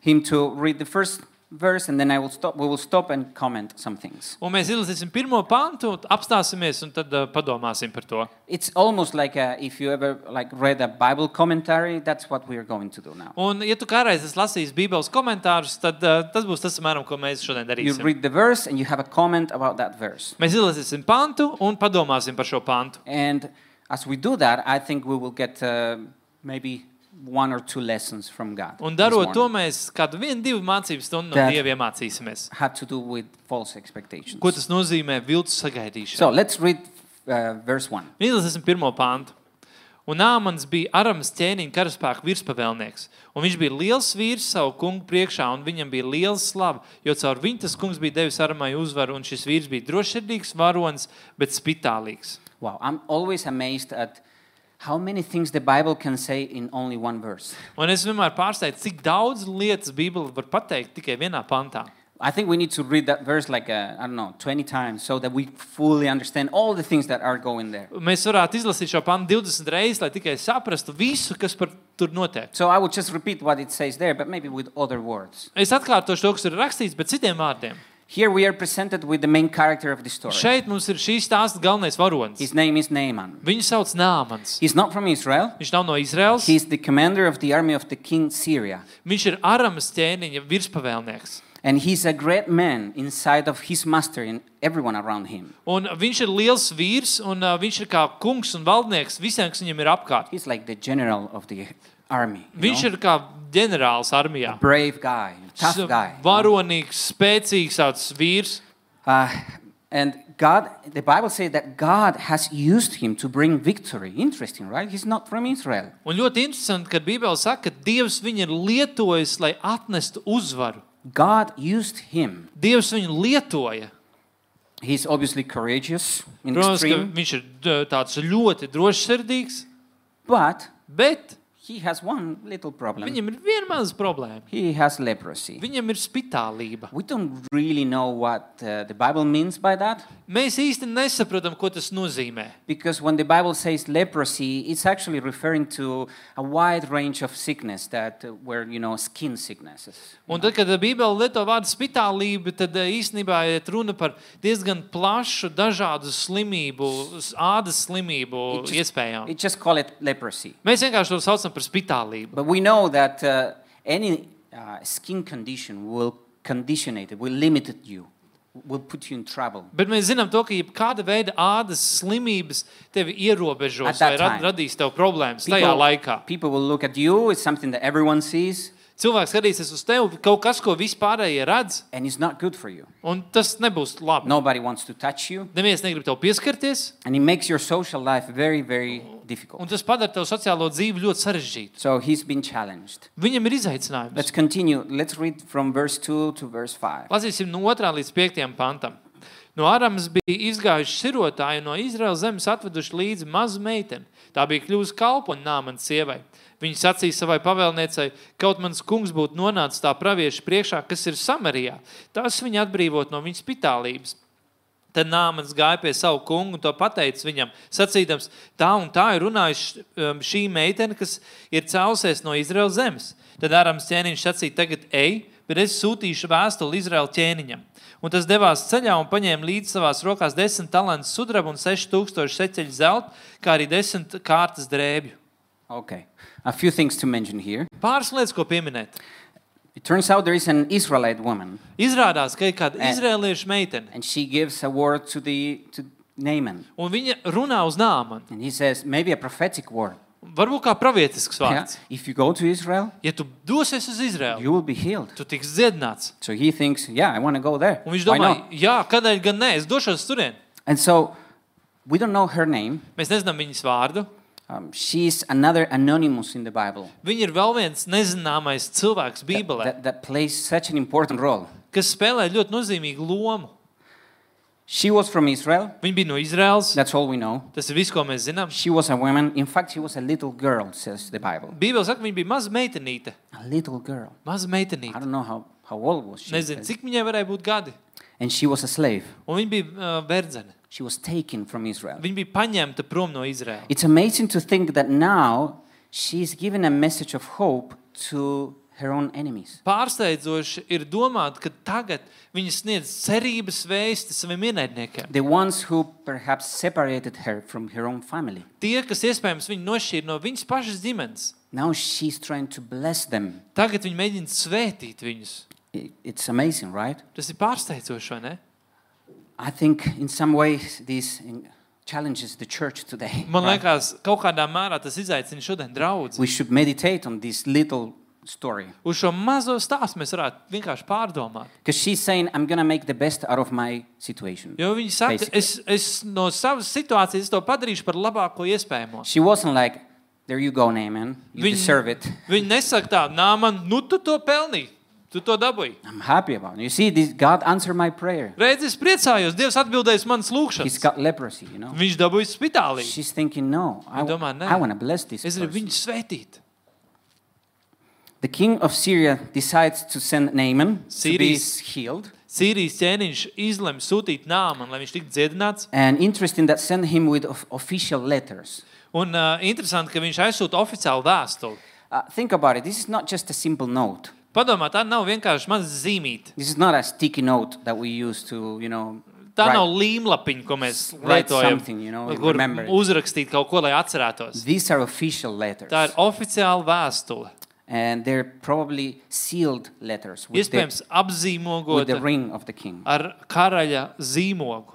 Speaker 2: him to read the first verse and then I will stop we will stop and comment some things.
Speaker 1: Un mēs izlasīsim pirmo pantu, apstāsimies un tad uh, padomāsim par to.
Speaker 2: It's almost like uh if you ever like read a Bible commentary, that's what we are going to do now.
Speaker 1: Un, ja tu kādreiz esi lasījis Bībeles komentārus, tad uh, tas būs tas, apmēram, ko mēs šodien
Speaker 2: You
Speaker 1: darīsim.
Speaker 2: read the verse and you have a comment about that verse.
Speaker 1: Mēs izlasīsim pantu un padomāsim par šo pantu.
Speaker 2: And as we do that, I think we will get uh, maybe one or two lessons from God.
Speaker 1: Un
Speaker 2: this
Speaker 1: darot
Speaker 2: morning.
Speaker 1: to, mēs kādu vienu, divu mācību stundu no
Speaker 2: Tad-
Speaker 1: Dieva iemācīsimies.
Speaker 2: had to do with false expectations.
Speaker 1: Ko tas nozīmē viltus
Speaker 2: So
Speaker 1: sagaidīšana?
Speaker 2: let's read uh, verse 1.
Speaker 1: Izlasīsim pirmo pāntu. Un Nāmans bija Aramas ķēniņa karaspēka virspavēlnieks. Un viņš bija liels vīrs savu kungu priekšā, un viņam bija liela slava, jo caur viņu tas kungs bija devis Aramai uzvaru, un šis vīrs bija drošsirdīgs, varonis, bet spitālīgs.
Speaker 2: Wow, I'm always amazed at how many things the Bible can say in only one verse.
Speaker 1: Un es vienmēr pārsteidzu, cik daudz lietas Bībele var pateikt tikai vienā pantā.
Speaker 2: I think we need to read that verse like, uh, I don't know, 20 times so that we fully understand all the things that are going there.
Speaker 1: Mēs varētu izlasīt šo pantu 20 reizes, lai tikai saprastu visu, kas par tur notiek.
Speaker 2: So I would just repeat what it says there, but maybe with other words.
Speaker 1: Es atkārtošu to, kas ir rakstīts, bet citiem vārdiem.
Speaker 2: Here we are presented with the main character of the story.
Speaker 1: Šeit mums ir šīs stāsts galvenais varonis.
Speaker 2: His name is Naaman.
Speaker 1: Viņu sauc Nāmans.
Speaker 2: He's not from Israel.
Speaker 1: Viņš nav no Izraels.
Speaker 2: He's the commander of the army of the king Syria.
Speaker 1: Viņš ir Aramas ķēniņa virspavēlnieks.
Speaker 2: And he's a great man inside of his master and everyone around him.
Speaker 1: Un viņš ir liels vīrs, un uh, viņš ir kā kungs un valdnieks visiem, kas viņam ir apkārt.
Speaker 2: He's like the general of the army. you
Speaker 1: Viņš
Speaker 2: know?
Speaker 1: ir kā ģenerālis armijā.
Speaker 2: brave guy, tough guy.
Speaker 1: Varonīgs, spēcīgs tāds vīrs.
Speaker 2: Uh, and God, the Bible says that God has used him to bring victory. Interesting, right? He's not from Israel.
Speaker 1: Un ļoti interesanti, ka Bībelē saka, ka Dievs viņu ir lietojis, lai atnestu uzvaru.
Speaker 2: God used him.
Speaker 1: Dievs viņu lietoja.
Speaker 2: He's obviously courageous in
Speaker 1: Protams, ka
Speaker 2: extreme,
Speaker 1: viņš ir d- tāds ļoti drošsirdīgs,
Speaker 2: but
Speaker 1: bet
Speaker 2: he has one little problem.
Speaker 1: viņam ir viena maza problēma.
Speaker 2: He has leprosy.
Speaker 1: Viņam ir spitālība.
Speaker 2: We don't really know what uh, the Bible means by that
Speaker 1: Mēs īsti nesaprotam, ko tas nozīmē.
Speaker 2: because when the Bible says leprosy, it's actually referring to a wide range of sickness that uh, were, you know, skin sicknesses.
Speaker 1: Un tad, kad Bībelē lieto vārdu spitālība, tad eh, īstenībā ir runa par diezgan plašu, dažādu slimību, s- ādas slimību iespējām.
Speaker 2: It just call it leprosy.
Speaker 1: Mēs vienkārši to saucam par spitālību.
Speaker 2: But we know that uh, any uh, skin condition will condition it, will limit you, will put you in trouble.
Speaker 1: Bet mēs zinām, to, ka jebkāda veida ādas slimības tevi
Speaker 2: At
Speaker 1: ierobežos vai
Speaker 2: that
Speaker 1: rad,
Speaker 2: time.
Speaker 1: radīs tev problēmas tajā laikā.
Speaker 2: people will look at you, it's something that everyone sees,
Speaker 1: Cilvēks skatīsies uz tevi, kaut kas, ko vispārējie redz,
Speaker 2: and it's not good for you.
Speaker 1: un tas nebūs labi. No.
Speaker 2: Nobody wants to touch you,
Speaker 1: Neviens negrib tev pieskarties,
Speaker 2: and it makes your social life very, very difficult.
Speaker 1: un tas padara tavu sociālo dzīvi ļoti sarežģītu.
Speaker 2: So he's been challenged.
Speaker 1: Viņam ir izaicinājums.
Speaker 2: Let's continue. Let's read from verse 2 to verse 5.
Speaker 1: Lasīsim no 2 līdz 5 pantam. No Ārāmas bija izgājuši sirotāji un no Izraēlas zemes atveduši līdzi mazu meiteni. Tā bija kļuvusi kalpa un nāmanas sievai. Viņa sacīja savai pavēlniecei, kaut mans kungs būtu nonācis tā pravieša priekšā, kas ir Samarijā. Tas viņa atbrīvot no viņas spitālības. Tad Nāmans gāja pie savu kungu un to pateica viņam, sacīdams, tā un tā ir runājusi um, šī meitene, kas ir cēlusies no Izraēlas zemes. Tad Ārams ķēniņš sacīja, tagad ej, bet es sūtīšu vēstuli Izraēlas ķēniņam. Un tas devās ceļā un paņēma līdzi savās rokās desmit talantus sudraba un sešu tūkstošu seceļu zelta, kā arī desmit kārtas drēbju.
Speaker 2: Okay. A few things to mention here.
Speaker 1: Pāris lietas, ko pieminēt.
Speaker 2: It turns out there is an Israelite woman,
Speaker 1: Izrādās, ka ir kāda
Speaker 2: Ē.
Speaker 1: izrēliešu meitene,
Speaker 2: and she gives a word to, the, to Naaman.
Speaker 1: un viņa runā uz nāmanu.
Speaker 2: And he says, maybe a prophetic word.
Speaker 1: Varbūt kā pravietisks
Speaker 2: Yeah?
Speaker 1: vārds.
Speaker 2: If you go to Israel,
Speaker 1: Ja tu dosies uz Izraēlu,
Speaker 2: you will be healed.
Speaker 1: tu tiks dziedināts.
Speaker 2: So he thinks, yeah, I want to go there.
Speaker 1: Un viņš
Speaker 2: Why
Speaker 1: domā,
Speaker 2: not?
Speaker 1: jā, kādēļ gan nē, es došos turien.
Speaker 2: And so we don't know her name.
Speaker 1: Mēs nezinām viņas vārdu.
Speaker 2: Um, she's another anonymous in the Bible
Speaker 1: Viņa ir vēl viens nezināmais cilvēks
Speaker 2: that,
Speaker 1: Bībelē,
Speaker 2: that- that plays such an important role.
Speaker 1: kas spēlē ļoti nozīmīgu lomu.
Speaker 2: She was from Israel.
Speaker 1: Viņa bija no Izraels.
Speaker 2: That's all we know.
Speaker 1: Tas ir viss, ko mēs zinām.
Speaker 2: She was a woman. In fact, she was a little girl, says the Bible.
Speaker 1: Bībelē saka, viņa bija maza meitenīte.
Speaker 2: A little girl.
Speaker 1: Maza
Speaker 2: I
Speaker 1: meitenīte.
Speaker 2: don't know how, how old was she.
Speaker 1: Nezinu, cik viņai varēja būt gadi.
Speaker 2: And she was a slave.
Speaker 1: Un viņa bija uh, verdzene.
Speaker 2: She was taken from Israel.
Speaker 1: Viņa bija paņemta prom no Izraēlas.
Speaker 2: It's amazing to think that now she's given a message of hope to her own enemies.
Speaker 1: Pārsteidzoši ir domāt, ka tagad viņa sniedz cerības vēsti saviem ienaidniekiem.
Speaker 2: The ones who perhaps separated her from her own family.
Speaker 1: Tie, kas iespējams viņu nošķīra no viņas pašas ģimenes,
Speaker 2: Now she's trying to bless them.
Speaker 1: tagad viņi mēģina svētīt viņus.
Speaker 2: I- It's amazing, right?
Speaker 1: Tas ir pārsteidzoši, vai ne?
Speaker 2: I think in some ways this in- challenges the church today.
Speaker 1: Man
Speaker 2: right?
Speaker 1: liekas, kaut kādā mērā tas izaicina šodien draugu.
Speaker 2: We should meditate on this little story.
Speaker 1: Uz šo mazo stāstu mēs varētu vienkārši pārdomāt.
Speaker 2: Because she's saying, I'm going to make the best out of my situation.
Speaker 1: Jo viņi saka,
Speaker 2: Basically.
Speaker 1: es, es no savas situācijas to padarīšu par labāko iespējamo.
Speaker 2: She wasn't like, There you go, Naaman. You
Speaker 1: Viņi-
Speaker 2: deserve it.
Speaker 1: Viņi nesaka tā, nā, man, nu tu to pelnīji, tu to dabūji.
Speaker 2: I'm happy about it. You see, this, God answered my prayer.
Speaker 1: Reiz es priecājos, Dievs atbildēs manas
Speaker 2: He's
Speaker 1: lūgšanas.
Speaker 2: got leprosy, you know.
Speaker 1: Viņš dabūja spitālī.
Speaker 2: She's thinking, no, I,
Speaker 1: Domā, nē.
Speaker 2: I want to bless this
Speaker 1: Es gribu
Speaker 2: person.
Speaker 1: viņu svētīt.
Speaker 2: The king of Syria decides to send Naaman to be
Speaker 1: Sīrijas-
Speaker 2: healed.
Speaker 1: Sīrijas ķēniņš izlemj sūtīt nāmu, lai viņš tiktu dziedināts.
Speaker 2: And interesting that send him with of- official letters.
Speaker 1: Un uh, interesanti, ka viņš aizsūta oficiālu vēstuli.
Speaker 2: Uh, think about it. This is not just a simple note.
Speaker 1: Padomā, tā nav vienkārši maza zīmīte.
Speaker 2: This is not a sticky note that we use to, you know,
Speaker 1: Tā
Speaker 2: write.
Speaker 1: nav līmlapiņa, ko mēs
Speaker 2: Write
Speaker 1: lietojam,
Speaker 2: something, you know,
Speaker 1: kur
Speaker 2: remember it.
Speaker 1: uzrakstīt kaut ko, lai atcerētos.
Speaker 2: These are official letters.
Speaker 1: Tā ir oficiāla vēstule.
Speaker 2: And they're probably sealed letters with, the,
Speaker 1: Iespējams,
Speaker 2: with the
Speaker 1: apzīmogota
Speaker 2: ring of the king.
Speaker 1: ar karaļa zīmogu.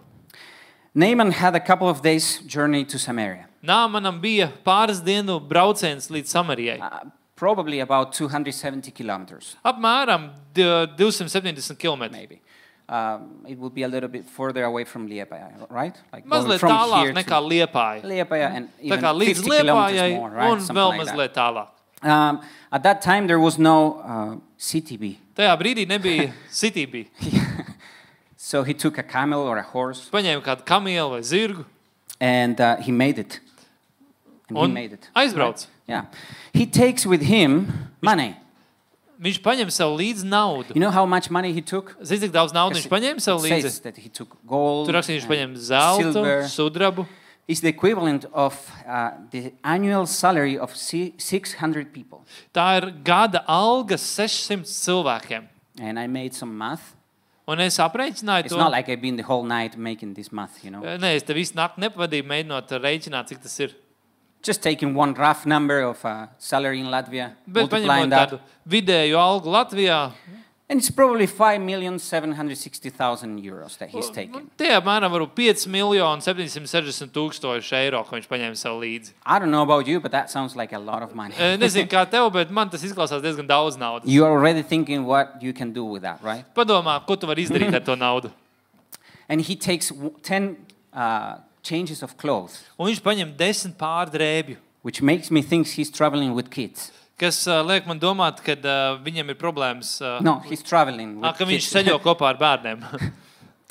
Speaker 2: Naaman had a couple of days' journey to Samaria, Uh,
Speaker 1: Nāmanam bija pāris dienu brauciens līdz Samarijai.
Speaker 2: uh, probably about 270 kilometers,
Speaker 1: Apmēram d- 270 km.
Speaker 2: maybe. Um, it would be a little bit further away from Liepāja, right? Like going
Speaker 1: Mazliet
Speaker 2: from
Speaker 1: tālāk
Speaker 2: here to
Speaker 1: nekā Liepāja.
Speaker 2: Liepāja
Speaker 1: Tā
Speaker 2: and even
Speaker 1: kā līdz
Speaker 2: 50
Speaker 1: Liepājai
Speaker 2: kilometers more, right?
Speaker 1: un
Speaker 2: Something
Speaker 1: vēl
Speaker 2: like that.
Speaker 1: mazliet tālāk.
Speaker 2: Um, at that time, there was no uh, CTB,
Speaker 1: Tajā brīdī nebija sitība.
Speaker 2: so he took a camel or a horse,
Speaker 1: Paņēma kādu kamielu vai zirgu
Speaker 2: and uh, he made it. And he
Speaker 1: un
Speaker 2: made it.
Speaker 1: aizbrauc.
Speaker 2: Yeah. He takes with him money.
Speaker 1: Viņš paņem sev līdzi naudu.
Speaker 2: You know how much money he took?
Speaker 1: Zini, cik daudz naudas
Speaker 2: 'Cause
Speaker 1: viņš paņēma sev
Speaker 2: it says
Speaker 1: līdzi?
Speaker 2: that he took gold.
Speaker 1: Tur rakstīts, viņš
Speaker 2: and
Speaker 1: paņēma zeltu,
Speaker 2: silver.
Speaker 1: sudrabu.
Speaker 2: It's the equivalent of uh, the annual salary of si- 600 people.
Speaker 1: Tā ir gada alga 600 cilvēkiem.
Speaker 2: And I made some math.
Speaker 1: Un es aprēķināju
Speaker 2: It's
Speaker 1: to.
Speaker 2: not like I've been the whole night making this math, you know.
Speaker 1: Nē, es te visu naktī nepavadīju, mēģinot rēķināt, cik tas ir.
Speaker 2: Just taking one rough number of uh, salary in Latvia,
Speaker 1: Bet
Speaker 2: multiplying
Speaker 1: paņemot tādu
Speaker 2: that.
Speaker 1: vidēju algu Latvijā,
Speaker 2: And it's probably 5,760,000 euros that he's
Speaker 1: nu,
Speaker 2: taken.
Speaker 1: tie apmēram ir 5 miljoni 760 tūkstoši eiro, ko viņš paņēma sev līdzi.
Speaker 2: I don't know about you, but that sounds like a lot of money.
Speaker 1: E, Nezinu, kā tev, bet man tas izklausās diezgan daudz naudas.
Speaker 2: You're already thinking what you can do with that, right?
Speaker 1: Padomā, ko tu vari izdarīt ar to naudu.
Speaker 2: And he takes w- 10 uh, changes of clothes,
Speaker 1: Un viņš paņem desmit pārdrēbju,
Speaker 2: which makes me think he's traveling with kids.
Speaker 1: kas uh, liek man domāt, ka uh, viņam ir problēmas. Uh,
Speaker 2: No, Oh. he's traveling
Speaker 1: Ā,
Speaker 2: with
Speaker 1: ka viņš
Speaker 2: kids.
Speaker 1: ceļo kopā ar bērniem.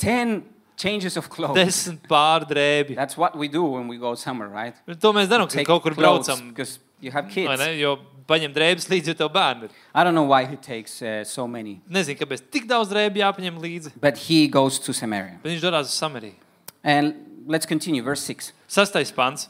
Speaker 2: 10 changes of clothes.
Speaker 1: Desmit pārdrēbju.
Speaker 2: That's what we do when we go somewhere, right?
Speaker 1: To mēs darām, kad kaut kur braucam.
Speaker 2: because you have
Speaker 1: vai
Speaker 2: kids.
Speaker 1: ne? Jo paņem drēbes līdzi, jo tev bērni ir.
Speaker 2: I don't know why he takes uh, so many.
Speaker 1: Nezinu, kāpēc tik daudz drēbju jāpaņem līdzi.
Speaker 2: But he goes to Samaria.
Speaker 1: Bet viņš dodas uz Samariju.
Speaker 2: And let's continue, verse 6.
Speaker 1: Sastais pants.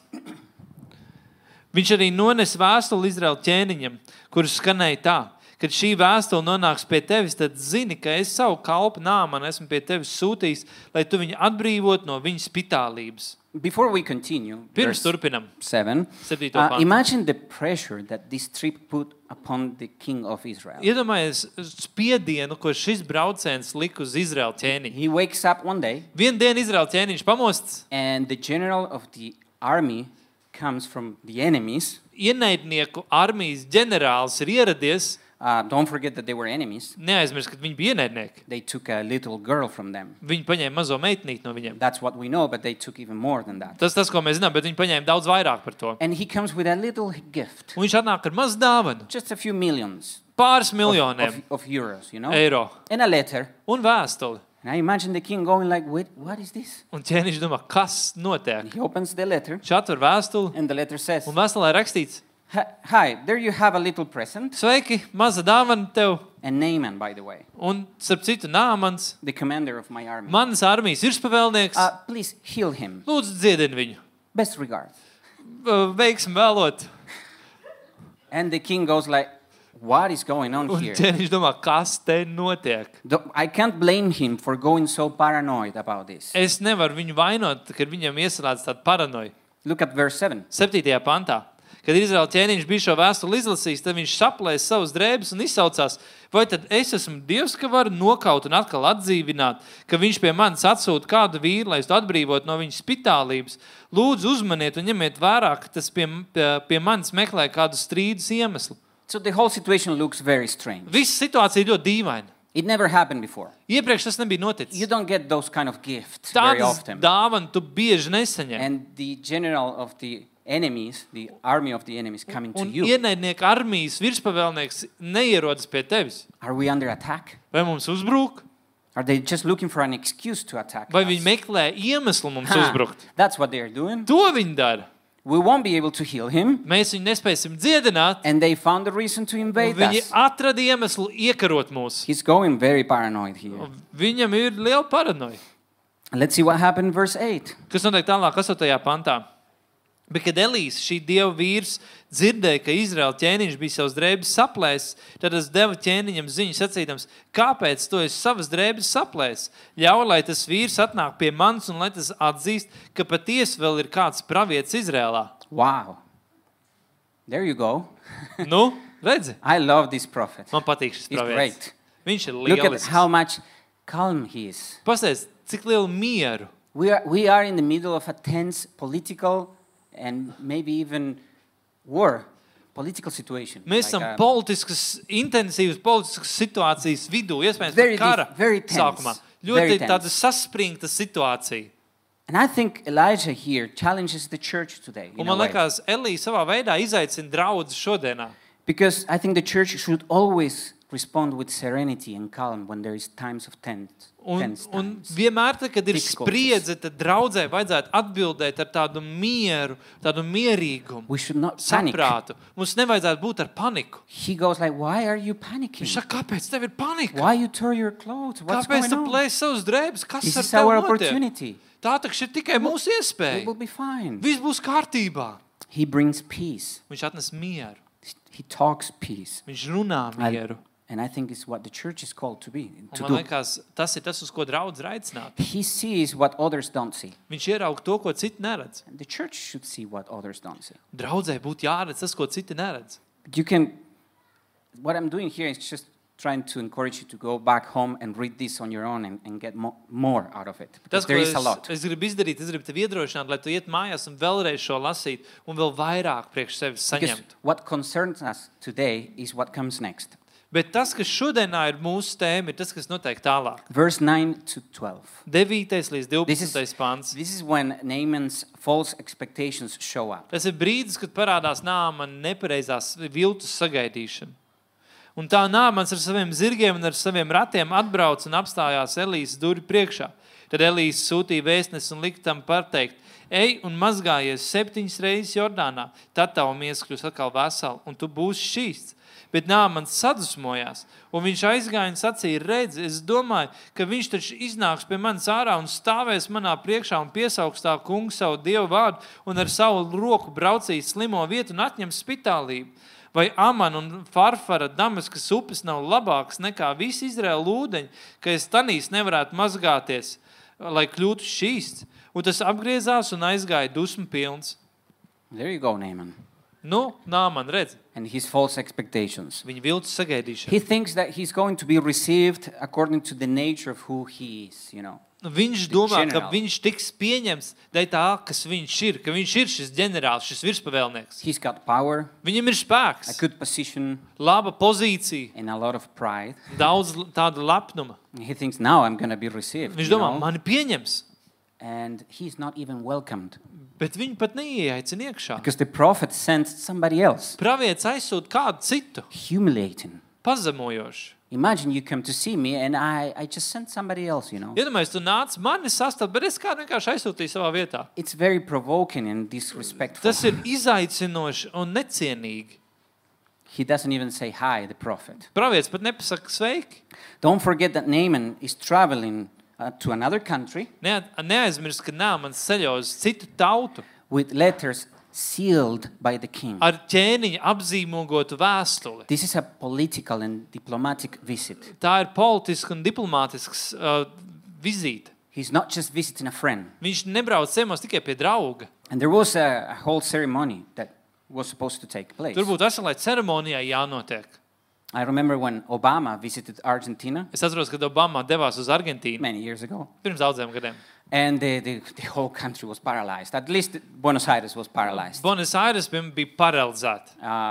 Speaker 1: Viņš arī nonesa vēstuli Izraēla ķēniņam, kurš skanēja tā, kad šī vēstule nonāks pie tevis, tad zini, ka es savu kalpu nāmanu esmu pie tevis sūtījis, lai tu viņu atbrīvotu no viņas spitālības.
Speaker 2: Before we continue,
Speaker 1: Pirms
Speaker 2: verse
Speaker 1: turpinam,
Speaker 2: 7,
Speaker 1: Septīto
Speaker 2: uh,
Speaker 1: pantu.
Speaker 2: imagine the pressure that this trip put upon the king of Israel.
Speaker 1: iedomājieties spiedienu, ko šis brauciens lika uz Izraēla ķēniņu.
Speaker 2: He wakes up one day
Speaker 1: Vienu dienu Izraēla ķēniņš pamostas,
Speaker 2: and the general of the army comes from the enemies.
Speaker 1: ienaidnieku armijas ģenerālis ir ieradies.
Speaker 2: Uh, don't forget that they were enemies.
Speaker 1: Neaizmirstiet, ka viņi bija ienaidnieki.
Speaker 2: They took a little girl from them.
Speaker 1: Viņi paņēma mazo meitnīti no viņiem.
Speaker 2: That's what we know, but they took even more than that.
Speaker 1: Tas, tas, ko mēs zinām, bet viņi paņēma daudz vairāk par to.
Speaker 2: And he comes with a little gift,
Speaker 1: Un viņš atnāk ar mazu dāvanu,
Speaker 2: just a few millions
Speaker 1: pāris
Speaker 2: of,
Speaker 1: miljoniem
Speaker 2: of, of euros, you know,
Speaker 1: eiro
Speaker 2: and a letter.
Speaker 1: un vēstuli.
Speaker 2: And I imagine the king going like, "Wait, what is this?"
Speaker 1: Un ķēniņš domā, kas notiek?
Speaker 2: And he opens the letter,
Speaker 1: Viņš atver vēstuli,
Speaker 2: and the letter says,
Speaker 1: un vēstulē rakstīts,
Speaker 2: "Hi- "Hi, there you have a little present."
Speaker 1: sveiki, maza dāvana tev.
Speaker 2: And Naaman, by the way,
Speaker 1: Un, starp citu, Nāmans,
Speaker 2: the commander of my army.
Speaker 1: manas armijas virspavēlnieks,
Speaker 2: Uh, please heal him.
Speaker 1: lūdzu, dziedini viņu.
Speaker 2: Best regards.
Speaker 1: Uh, Veiksim vēlot.
Speaker 2: And the king goes like, "What is going on
Speaker 1: Un
Speaker 2: here?"
Speaker 1: ķēniņš domā, kas te notiek?
Speaker 2: Th- I can't blame him for going so paranoid about this.
Speaker 1: Es nevaru viņu vainot, kad viņam iestrādāts tāda paranoja.
Speaker 2: Look at verse 7.
Speaker 1: 7. pantā. Kad Izraēla ķēniņš bija šo vēstuli izlasījis, tad viņš saplēs savus drēbes un izsaucās, vai tad es esmu Dievs, ka varu nokaut un atkal atdzīvināt, ka viņš pie manis atsūta kādu vīru, lai es to atbrīvotu no viņas spitālības. Lūdzu, uzmaniet un ņemiet vērā, ka tas pie, pie, pie manis meklē kādu strīdus iemeslu.
Speaker 2: So the whole situation looks very strange.
Speaker 1: Visa situācija ir ļoti dīvaina.
Speaker 2: It never happened before.
Speaker 1: Iepriekš tas nebija
Speaker 2: You
Speaker 1: noticis.
Speaker 2: don't get those kind of gifts very
Speaker 1: Tādas
Speaker 2: often.
Speaker 1: dāvanas tu bieži nesaņem.
Speaker 2: And the general of the enemies, the army of the enemies coming to
Speaker 1: Un
Speaker 2: you.
Speaker 1: ienaidnieka armijas virspavēlnieks neierodas pie tevis.
Speaker 2: Are we under attack?
Speaker 1: Vai mums uzbrūk?
Speaker 2: Are they just looking for an excuse to attack?
Speaker 1: Vai
Speaker 2: us?
Speaker 1: viņi meklē iemeslu mums
Speaker 2: Ha,
Speaker 1: uzbrukt?
Speaker 2: That's what they're doing.
Speaker 1: To viņi dara.
Speaker 2: we won't be able to heal him.
Speaker 1: Mēs viņu nespēsim dziedināt.
Speaker 2: And they found a reason to
Speaker 1: un
Speaker 2: invade
Speaker 1: Viņi
Speaker 2: us.
Speaker 1: atrada iemeslu iekarot mūs.
Speaker 2: He's going very paranoid here.
Speaker 1: Viņam ir liela paranoja.
Speaker 2: Let's see what happened, verse 8.
Speaker 1: Kas notiek tālāk, 8. pantā? Bet, kad Elīze, šī dieva vīrs, dzirdēja, ka Izraēla ķēniņš bija savas drēbes saplējis, tad es devu ķēniņam ziņu, sacīdams, kāpēc tu esi savas drēbes saplējis? Ļauj, lai tas vīrs atnāk pie manis un lai tas atzīst, ka patiesi vēl ir kāds pravietis Izrēlā.
Speaker 2: Wow. There you go.
Speaker 1: Nu, redzi,
Speaker 2: I love this prophet.
Speaker 1: man patīk šis
Speaker 2: He's
Speaker 1: pravietis.
Speaker 2: great.
Speaker 1: Viņš ir
Speaker 2: Look at
Speaker 1: lielisks.
Speaker 2: how much calm he is.
Speaker 1: Pastāstiet, cik lielu mieru
Speaker 2: We are, we are in the middle of a tense political and maybe even war political situation.
Speaker 1: Mēs esam
Speaker 2: Like, uh,
Speaker 1: politiskas, intensīvas politiskas situācijas vidū, iespējams,
Speaker 2: Very
Speaker 1: pat kara
Speaker 2: dif- very tense.
Speaker 1: sākumā.
Speaker 2: Very
Speaker 1: Ļoti
Speaker 2: tense.
Speaker 1: tāda saspringta situācija.
Speaker 2: and I think Elijah here challenges the church today. in
Speaker 1: Un
Speaker 2: a
Speaker 1: man
Speaker 2: way.
Speaker 1: liekas, Elīze savā veidā izaicina draugu šodienā.
Speaker 2: Because I think the church should always respond with serenity and calm when there is times of tense,
Speaker 1: Un,
Speaker 2: tense
Speaker 1: un
Speaker 2: times.
Speaker 1: vienmēr, tad, kad ir
Speaker 2: Difficulties.
Speaker 1: spriedze, tad draudzē vajadzētu atbildēt ar tādu mieru, tādu mierīgumu,
Speaker 2: We should not panic.
Speaker 1: saprātu. Mums nevajadzētu būt ar paniku.
Speaker 2: He goes like, "Why are you
Speaker 1: Viņš
Speaker 2: panicking?
Speaker 1: saka, kāpēc tev ir panika?
Speaker 2: Why you tear your clothes? What's
Speaker 1: Kāpēc
Speaker 2: going
Speaker 1: tu
Speaker 2: on?
Speaker 1: plēsi savus drēbes? Kas
Speaker 2: This
Speaker 1: ar
Speaker 2: is
Speaker 1: tevi
Speaker 2: our
Speaker 1: notiek?
Speaker 2: opportunity.
Speaker 1: Tā taču ir tikai mūsu
Speaker 2: It will
Speaker 1: iespēja.
Speaker 2: be fine."
Speaker 1: Viss būs kārtībā.
Speaker 2: He brings peace.
Speaker 1: Viņš atnes mieru,
Speaker 2: He talks peace.
Speaker 1: viņš runā
Speaker 2: I-
Speaker 1: mieru.
Speaker 2: and I think it's what the church is called to be
Speaker 1: Un
Speaker 2: to
Speaker 1: Man
Speaker 2: do.
Speaker 1: liekas, tas ir tas, uz ko draudz aicināt.
Speaker 2: He sees what others don't see.
Speaker 1: Viņš ieraudzīja to, ko citi neredz.
Speaker 2: And the church should see what others don't see.
Speaker 1: Draudzē būtu jāredz tas, ko citi neredz.
Speaker 2: You can what I'm doing here is just trying to encourage you to go back home and read this on your own and, and get mo- more out of it.
Speaker 1: Tas,
Speaker 2: Because
Speaker 1: ko
Speaker 2: there is
Speaker 1: es,
Speaker 2: a lot.
Speaker 1: es gribu izdarīt, es gribu tevi iedrošināt, lai tu iet mājās un vēlreiz šo lasītu, un vēl vairāk priekš sevis
Speaker 2: Because
Speaker 1: saņemtu.
Speaker 2: what concerns us today is what comes next.
Speaker 1: Bet tas, kas šodienā ir mūsu tēma, ir tas, kas notiek tālāk.
Speaker 2: Verse 9 to 12.
Speaker 1: 9. līdz
Speaker 2: This is,
Speaker 1: 12. pāns.
Speaker 2: this is when Naaman's false expectations show up.
Speaker 1: Tas ir brīdis, kad parādās nāma nepareizās viltus sagaidīšana. Un tā nāmans ar saviem zirgiem un ar saviem ratiem atbrauc un apstājās Elīzes durvju priekšā. Tad Elīze sūtīja vēstnesi un lika tam pateikt, ej un mazgājies septiņas reizes Jordānā, tad tava miesa kļūs atkal vesela un tu būsi šīs. Bet Nāmans sadusmojās, un viņš aizgāja un sacīja: Redzi, es domāju, ka viņš taču iznāks pie manis ārā un stāvēs manā priekšā un piesaugs tā kungu savu dievu vārdu un ar savu roku braucīs slimo vietu un atņems spitālību. Vai Amana un Farfara Damaskas upes nav labākas nekā visi Izraēla ūdeņi, ka es tanīs nevarētu mazgāties, lai kļūtu šīs? Un tas apgriezās un aizgāja dusmu pilns.
Speaker 2: There you go, Naaman.
Speaker 1: Nu, Nāman, redz,
Speaker 2: And his false expectations.
Speaker 1: viņa viltus sagaidīšana.
Speaker 2: He thinks that he's going to be received according to the nature of who he is, you know.
Speaker 1: Nu, Viņš
Speaker 2: The
Speaker 1: domā,
Speaker 2: general.
Speaker 1: ka viņš tiks pieņemts dēļ tā, kas viņš ir, ka viņš ir šis ģenerālis, šis virspavēlnieks.
Speaker 2: He's got power,
Speaker 1: Viņam ir
Speaker 2: a
Speaker 1: spēks,
Speaker 2: good position,
Speaker 1: laba pozīcija,
Speaker 2: and a lot of pride.
Speaker 1: daudz l- tāda lepnuma.
Speaker 2: And He thinks now I'm going to be received.
Speaker 1: Viņš
Speaker 2: you
Speaker 1: domā,
Speaker 2: know?
Speaker 1: mani pieņems,
Speaker 2: And he's not even welcomed
Speaker 1: bet viņi pat neieaicina iekšā.
Speaker 2: because the prophet sent somebody else,
Speaker 1: Pravietis aizsūta kādu citu,
Speaker 2: humiliating.
Speaker 1: pazemojošu.
Speaker 2: Imagine you come to see me and I, I just sent somebody else, you know.
Speaker 1: Iedomājieties, tu nāc mani sastāvā, bet es kādu vienkārši aizsūtīju savā vietā.
Speaker 2: It's very provoking and disrespectful.
Speaker 1: Tas ir izaicinoši un necienīgi.
Speaker 2: He doesn't even say hi, the prophet.
Speaker 1: Pravietis pat nepasaka sveiki.
Speaker 2: Don't forget that Naaman is traveling uh, to another country.
Speaker 1: Nea- Neaizmirst, ka nāmans ceļo uz citu tautu.
Speaker 2: with letters sealed by the king.
Speaker 1: ar ķēniņu apzīmogotu vēstuli.
Speaker 2: This is a political and diplomatic visit.
Speaker 1: Tā ir politiska un diplomātisks uh, vizīte.
Speaker 2: He's not just visiting a friend.
Speaker 1: Viņš nebrauc ciemos tikai pie drauga.
Speaker 2: And there was a, a whole ceremony that was supposed to take place.
Speaker 1: Tur būtu veselai ceremonijai jānotiek.
Speaker 2: I remember when Obama visited Argentina
Speaker 1: Es atceros, kad Obama devās uz Argentīnu
Speaker 2: many years ago,
Speaker 1: pirms daudziem gadiem.
Speaker 2: and the, the, the whole country was paralyzed. At least Buenos Aires was paralyzed.
Speaker 1: Buenos Aires piemēram, bija paralizēta.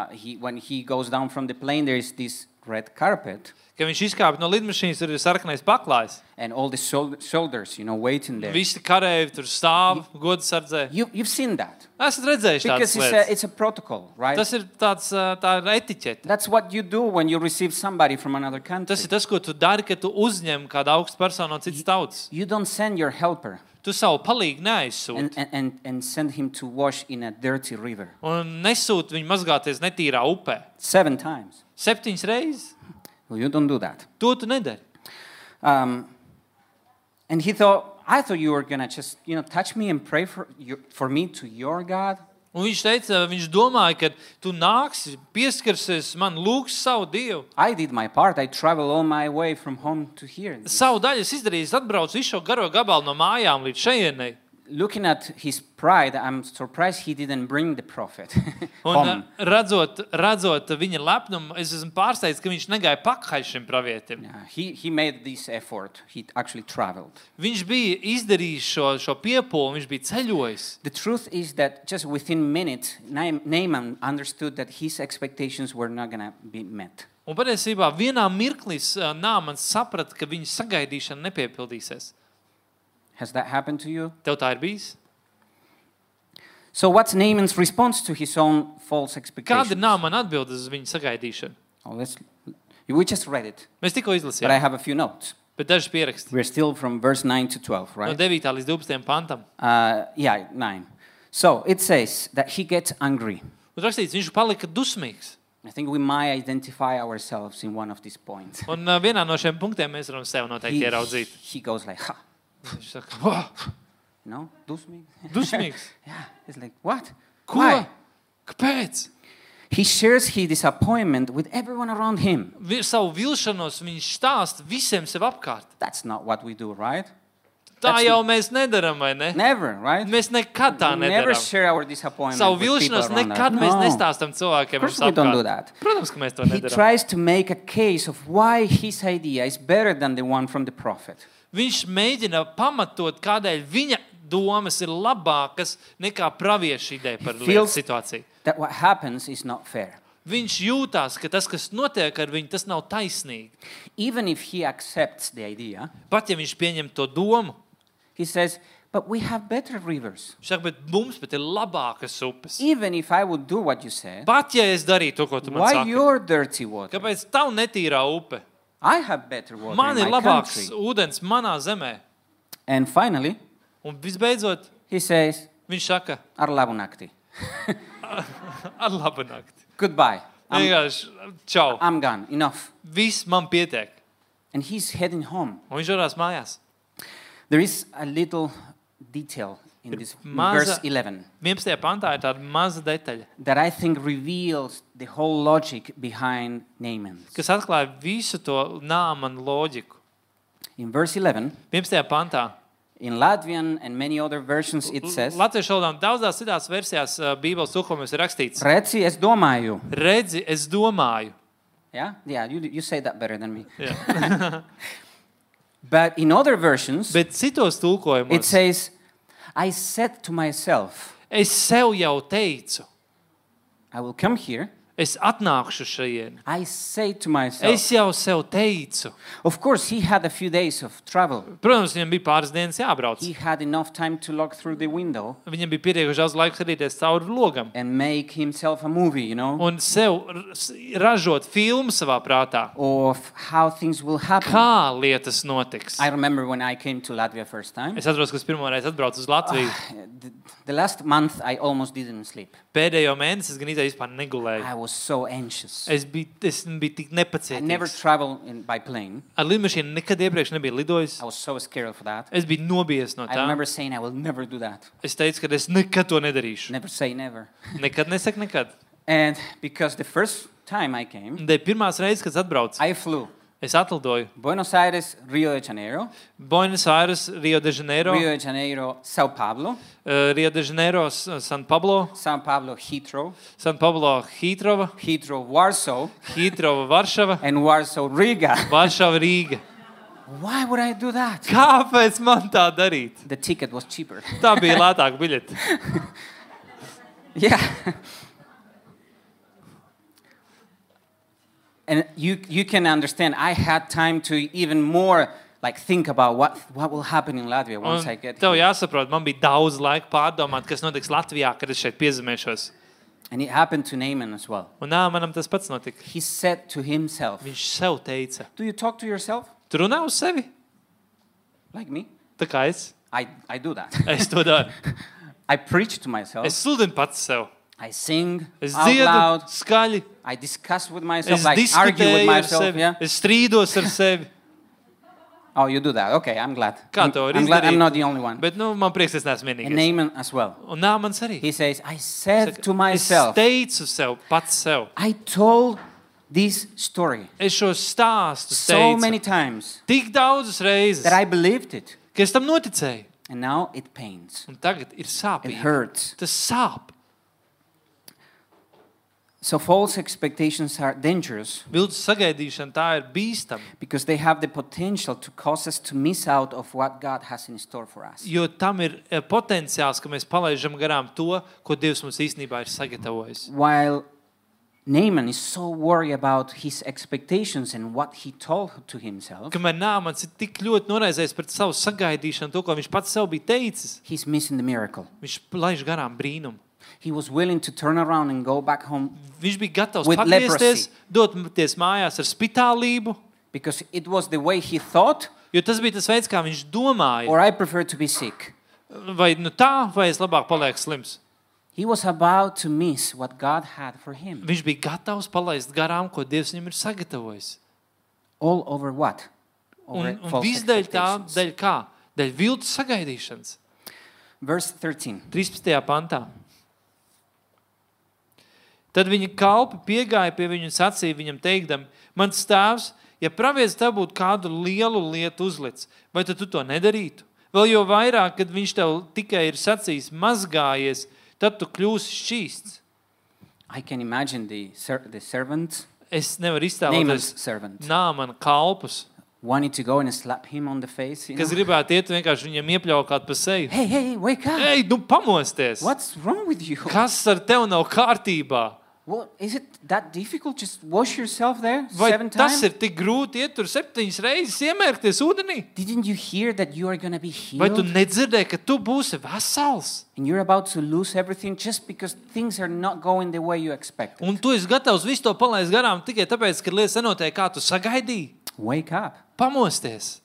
Speaker 2: Uh, he, when he goes down from the plane, there is this red carpet,
Speaker 1: Kad viņš izkāpa no lidmašīnas, tur ir sarkanais paklājs.
Speaker 2: and all the sol- soldiers, you know, waiting there.
Speaker 1: Visi kareivi tur stāv, godsardzē.
Speaker 2: You, you've seen that
Speaker 1: Esat redzējuši, tādas
Speaker 2: because it's
Speaker 1: lietas.
Speaker 2: a, it's a protocol, right?
Speaker 1: Tas ir tāds, uh, tā ir etiķete.
Speaker 2: That's what you do when you receive somebody from another country.
Speaker 1: Tas ir tas, ko tu dari, kad tu uzņem kādu augstu personu no citas tautas.
Speaker 2: You don't send your helper.
Speaker 1: tu savu palīgu
Speaker 2: and,
Speaker 1: neaizsūti.
Speaker 2: and, and, and sent him to wash in a dirty river
Speaker 1: Un nesūti viņu mazgāties netīrā upē.
Speaker 2: seven times.
Speaker 1: Septiņas reizes.
Speaker 2: Well, you don't do that.
Speaker 1: To tu nedari.
Speaker 2: Um, and he thought, I thought you were gonna just, you know, touch me and pray for you, for me to your God.
Speaker 1: Un viņš teica, viņš domāja, ka tu nāksi, pieskarsies man, lūgs savu dievu.
Speaker 2: I did my part. I traveled all my way from home to here.
Speaker 1: Savu daļu es izdarīju, es atbraucu visu šo garo gabalu no mājām līdz šejienei.
Speaker 2: Looking at his pride, I'm surprised he didn't bring the prophet
Speaker 1: Un,
Speaker 2: home.
Speaker 1: eh, redzot, redzot viņa lepnumu, es esmu pārsteigts, ka viņš negāja pakaļ šim pravietim.
Speaker 2: Yeah, he, he made this effort. He actually traveled.
Speaker 1: Viņš bija izdarījis šo, šo piepūli, viņš bija ceļojis.
Speaker 2: The truth is that just within minutes, Naam- Naaman understood that his expectations were not going to be met.
Speaker 1: Un patiesībā vienā mirklī eh, Nāmans saprata, ka viņa sagaidīšana nepiepildīsies.
Speaker 2: Has that happened to you?
Speaker 1: Tev tā ir bijis?
Speaker 2: So, what's Naaman's response to his own false
Speaker 1: Kāda
Speaker 2: expectations?
Speaker 1: ir Nāmana atbilde uz viņa sagaidīšanu?
Speaker 2: Oh, let's, we just read it,
Speaker 1: Mēs tikko
Speaker 2: but I
Speaker 1: izlasījām,
Speaker 2: have a few notes.
Speaker 1: bet daži pieraksti.
Speaker 2: We're still from verse 9 to 12,
Speaker 1: No
Speaker 2: right?
Speaker 1: 9. līdz 12. pantam.
Speaker 2: Uh, yeah, 9. So, it says that he gets angry.
Speaker 1: Un rakstīts, viņš palika dusmīgs.
Speaker 2: I think we might identify ourselves in one of these points.
Speaker 1: Un uh, vienā no šiem punktiem mēs varam sevi noteikti
Speaker 2: He,
Speaker 1: ieraudzīt.
Speaker 2: he goes like, ha,
Speaker 1: Viņš saka, "Vā,
Speaker 2: no, dus me.
Speaker 1: dusmīgs.
Speaker 2: yeah, it's like, what?
Speaker 1: Ko?
Speaker 2: Why?
Speaker 1: Kāpēc?
Speaker 2: He shares his disappointment with everyone around him.
Speaker 1: Vi, savu vilšanos viņš stāsta visiem sev apkārt.
Speaker 2: That's not what we do, right?
Speaker 1: Tā
Speaker 2: That's-
Speaker 1: jau mēs nedaram, vai ne?
Speaker 2: Never, right?
Speaker 1: Mēs nekad tā
Speaker 2: We never
Speaker 1: nedaram.
Speaker 2: share our disappointment.
Speaker 1: Savu
Speaker 2: with people
Speaker 1: vilšanos
Speaker 2: around us.
Speaker 1: nekad mēs
Speaker 2: No.
Speaker 1: nestāstām cilvēkiem.
Speaker 2: Of course
Speaker 1: mums
Speaker 2: we don't do
Speaker 1: apkārt.
Speaker 2: that.
Speaker 1: Protams, ka mēs to
Speaker 2: He
Speaker 1: nedarām.
Speaker 2: tries to make a case of why his idea is better than the one from the prophet.
Speaker 1: Viņš mēģina pamatot, kādēļ viņa domas ir labākas nekā pravieša ideja par
Speaker 2: He
Speaker 1: lietu
Speaker 2: feels-
Speaker 1: situāciju.
Speaker 2: That what happens is not fair.
Speaker 1: Viņš jūtās, ka tas, kas notiek ar viņu, tas nav taisnīgi.
Speaker 2: Even if he accepts the idea,
Speaker 1: Pat ja viņš pieņem to domu,
Speaker 2: he says, but we have better rivers.
Speaker 1: viņš saka, bet mums pat ir labākas upes.
Speaker 2: Even if I would do what you said,
Speaker 1: Pat ja es darītu to, ko tu man
Speaker 2: why
Speaker 1: saki,
Speaker 2: your dirty water?
Speaker 1: kāpēc tev netīrā upe?
Speaker 2: I have better water
Speaker 1: Man ir
Speaker 2: in my
Speaker 1: labāks
Speaker 2: country.
Speaker 1: ūdens manā zemē.
Speaker 2: And finally,
Speaker 1: Un visbeidzot,
Speaker 2: he says,
Speaker 1: viņš saka,
Speaker 2: ar labu nakti.
Speaker 1: ar labu nakti.
Speaker 2: Goodbye. I'm,
Speaker 1: Vienkārši, čau,
Speaker 2: I'm gone. Enough.
Speaker 1: viss man pietiek.
Speaker 2: And he's heading home.
Speaker 1: Un viņš dodas mājās.
Speaker 2: There is a little detail in this in verse
Speaker 1: Maza-
Speaker 2: 11
Speaker 1: 11. pantā ir tāda maza detaļa,
Speaker 2: that I think reveals the whole logic behind Naaman.
Speaker 1: kas atklāja visu to nāmanu loģiku.
Speaker 2: In verse 11,
Speaker 1: 11. pantā.
Speaker 2: in Latvian and many other versions, it says,
Speaker 1: Latvijas valodā daudzās citās versijās ā, Bībeles tūkojumos ir rakstīts,
Speaker 2: Reci, es domāju.
Speaker 1: redzi, es domāju.
Speaker 2: Yeah, yeah, you, you say that better than me.
Speaker 1: Jā.
Speaker 2: But in other versions,
Speaker 1: Bet citos
Speaker 2: it
Speaker 1: tulkojumos
Speaker 2: says, I said to myself,
Speaker 1: es sev jau teicu,
Speaker 2: I will come here.
Speaker 1: es atnākšu šeit.
Speaker 2: I say to myself.
Speaker 1: Es jau sev teicu.
Speaker 2: Of course, he had a few days of travel.
Speaker 1: Protams, viņam bija pāris dienas jābrauc.
Speaker 2: He had enough time to look through the window
Speaker 1: Viņam bija pietiekami daudz laika skatīties cauri logam
Speaker 2: and make himself a movie, you know,
Speaker 1: un sev r- s- ražot filmu savā prātā.
Speaker 2: of how things will happen.
Speaker 1: Kā lietas notiks?
Speaker 2: I remember when I came to Latvia first time. eh,
Speaker 1: Es atceros, ka es pirmo reizi atbraucu uz Latviju.
Speaker 2: The, the last month, I almost didn't sleep.
Speaker 1: Pēdējo mēnesi es gan īstenībā vispār negulēju.
Speaker 2: I was so anxious.
Speaker 1: Es biju, es biju tik
Speaker 2: I never
Speaker 1: nepacietīgs.
Speaker 2: traveled in, by plane.
Speaker 1: Ar lidmašīnu nekad iepriekš nebiju lidojis.
Speaker 2: I was so scared for that.
Speaker 1: Es biju nobijies no
Speaker 2: I
Speaker 1: tā.
Speaker 2: remember saying, I will never do that.
Speaker 1: Es teicu, ka es nekad to nedarīšu.
Speaker 2: Never say never.
Speaker 1: Nekad nesaku nekad.
Speaker 2: And because the first time I came,
Speaker 1: Un Tā ir pirmā reize, kad es atbraucu.
Speaker 2: I flew
Speaker 1: Es atlidoju
Speaker 2: Buenos Aires, Rio de Janeiro,
Speaker 1: Buenos Aires, Rio de Janeiro,
Speaker 2: Rio de Janeiro, Sao Paulo,
Speaker 1: eh, Rio de Janeiro, San Pablo,
Speaker 2: Sao Paulo, Heathrow,
Speaker 1: San Pablo, Hitrova,
Speaker 2: Heathrow, Warsaw,
Speaker 1: Hitrova, Varšava,
Speaker 2: and Warsaw, Riga.
Speaker 1: Varšava, Rīga.
Speaker 2: Why would I do that?
Speaker 1: Kāpēc man tā darīt?
Speaker 2: The ticket was cheaper.
Speaker 1: Tā bija lētāka biļete.
Speaker 2: yeah. And you, you can understand, I had time to even more like think about what, what will happen in Latvia
Speaker 1: Un
Speaker 2: once I get
Speaker 1: tev jāsaprot, man bija daudz laika pārdomāt, kas notiks Latvijā, kad es šeit piezemēšos.
Speaker 2: And it happened to Naaman as well.
Speaker 1: Un nā, manam tas pats notika.
Speaker 2: He said to himself,
Speaker 1: Viņš sev teica,
Speaker 2: Do you talk to yourself
Speaker 1: tu runā uz sevi,
Speaker 2: like me?
Speaker 1: tā kā es.
Speaker 2: I, I do that.
Speaker 1: Es to
Speaker 2: Oh.
Speaker 1: daru.
Speaker 2: I preach to myself.
Speaker 1: Es sludinu pats sev.
Speaker 2: I sing
Speaker 1: Es
Speaker 2: out loud.
Speaker 1: dziedu skaļi.
Speaker 2: I discuss with myself,
Speaker 1: Es
Speaker 2: like argue with
Speaker 1: diskutēju ar
Speaker 2: myself.
Speaker 1: sevi.
Speaker 2: Yeah.
Speaker 1: Es strīdos ar sevi.
Speaker 2: Oh, you do that. Okay, I'm glad.
Speaker 1: Kā
Speaker 2: I'm,
Speaker 1: to var
Speaker 2: I'm glad I'm
Speaker 1: izdarīt?
Speaker 2: not the only one.
Speaker 1: Bet nu, man prieks, es neesmu
Speaker 2: And
Speaker 1: vienīgais.
Speaker 2: Naaman as well.
Speaker 1: Un Nāmans arī.
Speaker 2: He says, I said to
Speaker 1: es
Speaker 2: myself,
Speaker 1: teicu sev, pats sev.
Speaker 2: I told this story
Speaker 1: Es šo stāstu
Speaker 2: so
Speaker 1: teicu
Speaker 2: many times
Speaker 1: tik daudzas reizes,
Speaker 2: that I believed it.
Speaker 1: ka es tam noticēju.
Speaker 2: And now it pains.
Speaker 1: Un tagad ir
Speaker 2: It
Speaker 1: sāpīgi.
Speaker 2: hurts.
Speaker 1: Tas sāp.
Speaker 2: So false expectations are dangerous
Speaker 1: Viltus sagaidīšana tā ir bīstama,
Speaker 2: because they have the potential to cause us to miss out of what God has in store for us.
Speaker 1: jo tam ir eh, potenciāls, ka mēs palaidām garām to, ko Dievs mums īstenībā ir sagatavojis.
Speaker 2: While Naaman is so worried about his expectations and what he told to himself,
Speaker 1: Kamēr Nāmans ir tik ļoti noraizējis par savu sagaidīšanu, to, ko viņš pats sev bija teicis,
Speaker 2: he's missing the miracle.
Speaker 1: viņš laiž garām brīnumu.
Speaker 2: He was willing to turn around and go back home
Speaker 1: Viņš bija gatavs
Speaker 2: With
Speaker 1: atgriezties,
Speaker 2: leprosy.
Speaker 1: doties mājās ar spitālību,
Speaker 2: because it was the way he thought,
Speaker 1: jo tas bija tas veids, kā viņš domāja.
Speaker 2: or I prefer to be sick.
Speaker 1: Vai nu tā, vai es labāk palieku slims.
Speaker 2: He was about to miss what God had for him.
Speaker 1: Viņš bija gatavs palaist garām, ko Dievs viņam ir sagatavojis.
Speaker 2: All over what? Over
Speaker 1: Un, un
Speaker 2: false
Speaker 1: visdēļ tā,
Speaker 2: expectations.
Speaker 1: dēļ kā? Dēļ viltus sagaidīšanas.
Speaker 2: Verse 13.
Speaker 1: 13. pantā. Tad viņa kalpi piegāja pie viņa un sacīja viņam, teikdami, mans tēvs, ja pravietis tev būtu kādu lielu lietu uzlicis, vai tad tu to nedarītu? Vēl jau vairāk, kad viņš tev tikai ir sacījis, mazgājies, tad tu kļūsi šķīsts.
Speaker 2: I can imagine the, ser- the servant,
Speaker 1: Es nevaru
Speaker 2: Naaman's
Speaker 1: iztēloties
Speaker 2: servant,
Speaker 1: nāmanu kalpus,
Speaker 2: wanted to go and slap him on the face. You
Speaker 1: kas
Speaker 2: know?
Speaker 1: gribētu iet vienkārši viņam iepļaukāt pa seju.
Speaker 2: Hey, hey, wake up!
Speaker 1: Ei, nu pamosties!
Speaker 2: What's wrong with you?
Speaker 1: Kas ar tevi nav kārtībā?
Speaker 2: What, is it that difficult? Just wash yourself there
Speaker 1: Vai
Speaker 2: seven
Speaker 1: tas
Speaker 2: times?
Speaker 1: ir tik grūti iet tur septiņas reizes, iemērkties ūdenī?
Speaker 2: Didn't you hear that you are going to be
Speaker 1: Vai tu
Speaker 2: healed?
Speaker 1: nedzirdēji, ka tu būsi vesels?
Speaker 2: And you're about to lose everything just because things are not going the way you expect.
Speaker 1: Un tu esi gatavs visu to palaist garām tikai tāpēc, ka lietas nenotiek kā tu sagaidīji.
Speaker 2: Wake up.
Speaker 1: Pamosties.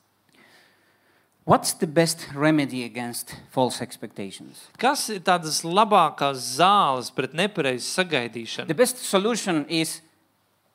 Speaker 2: What's the best remedy against false expectations?
Speaker 1: Kas ir tādas labākās zāles pret nepareizu sagaidīšanu?
Speaker 2: The best solution is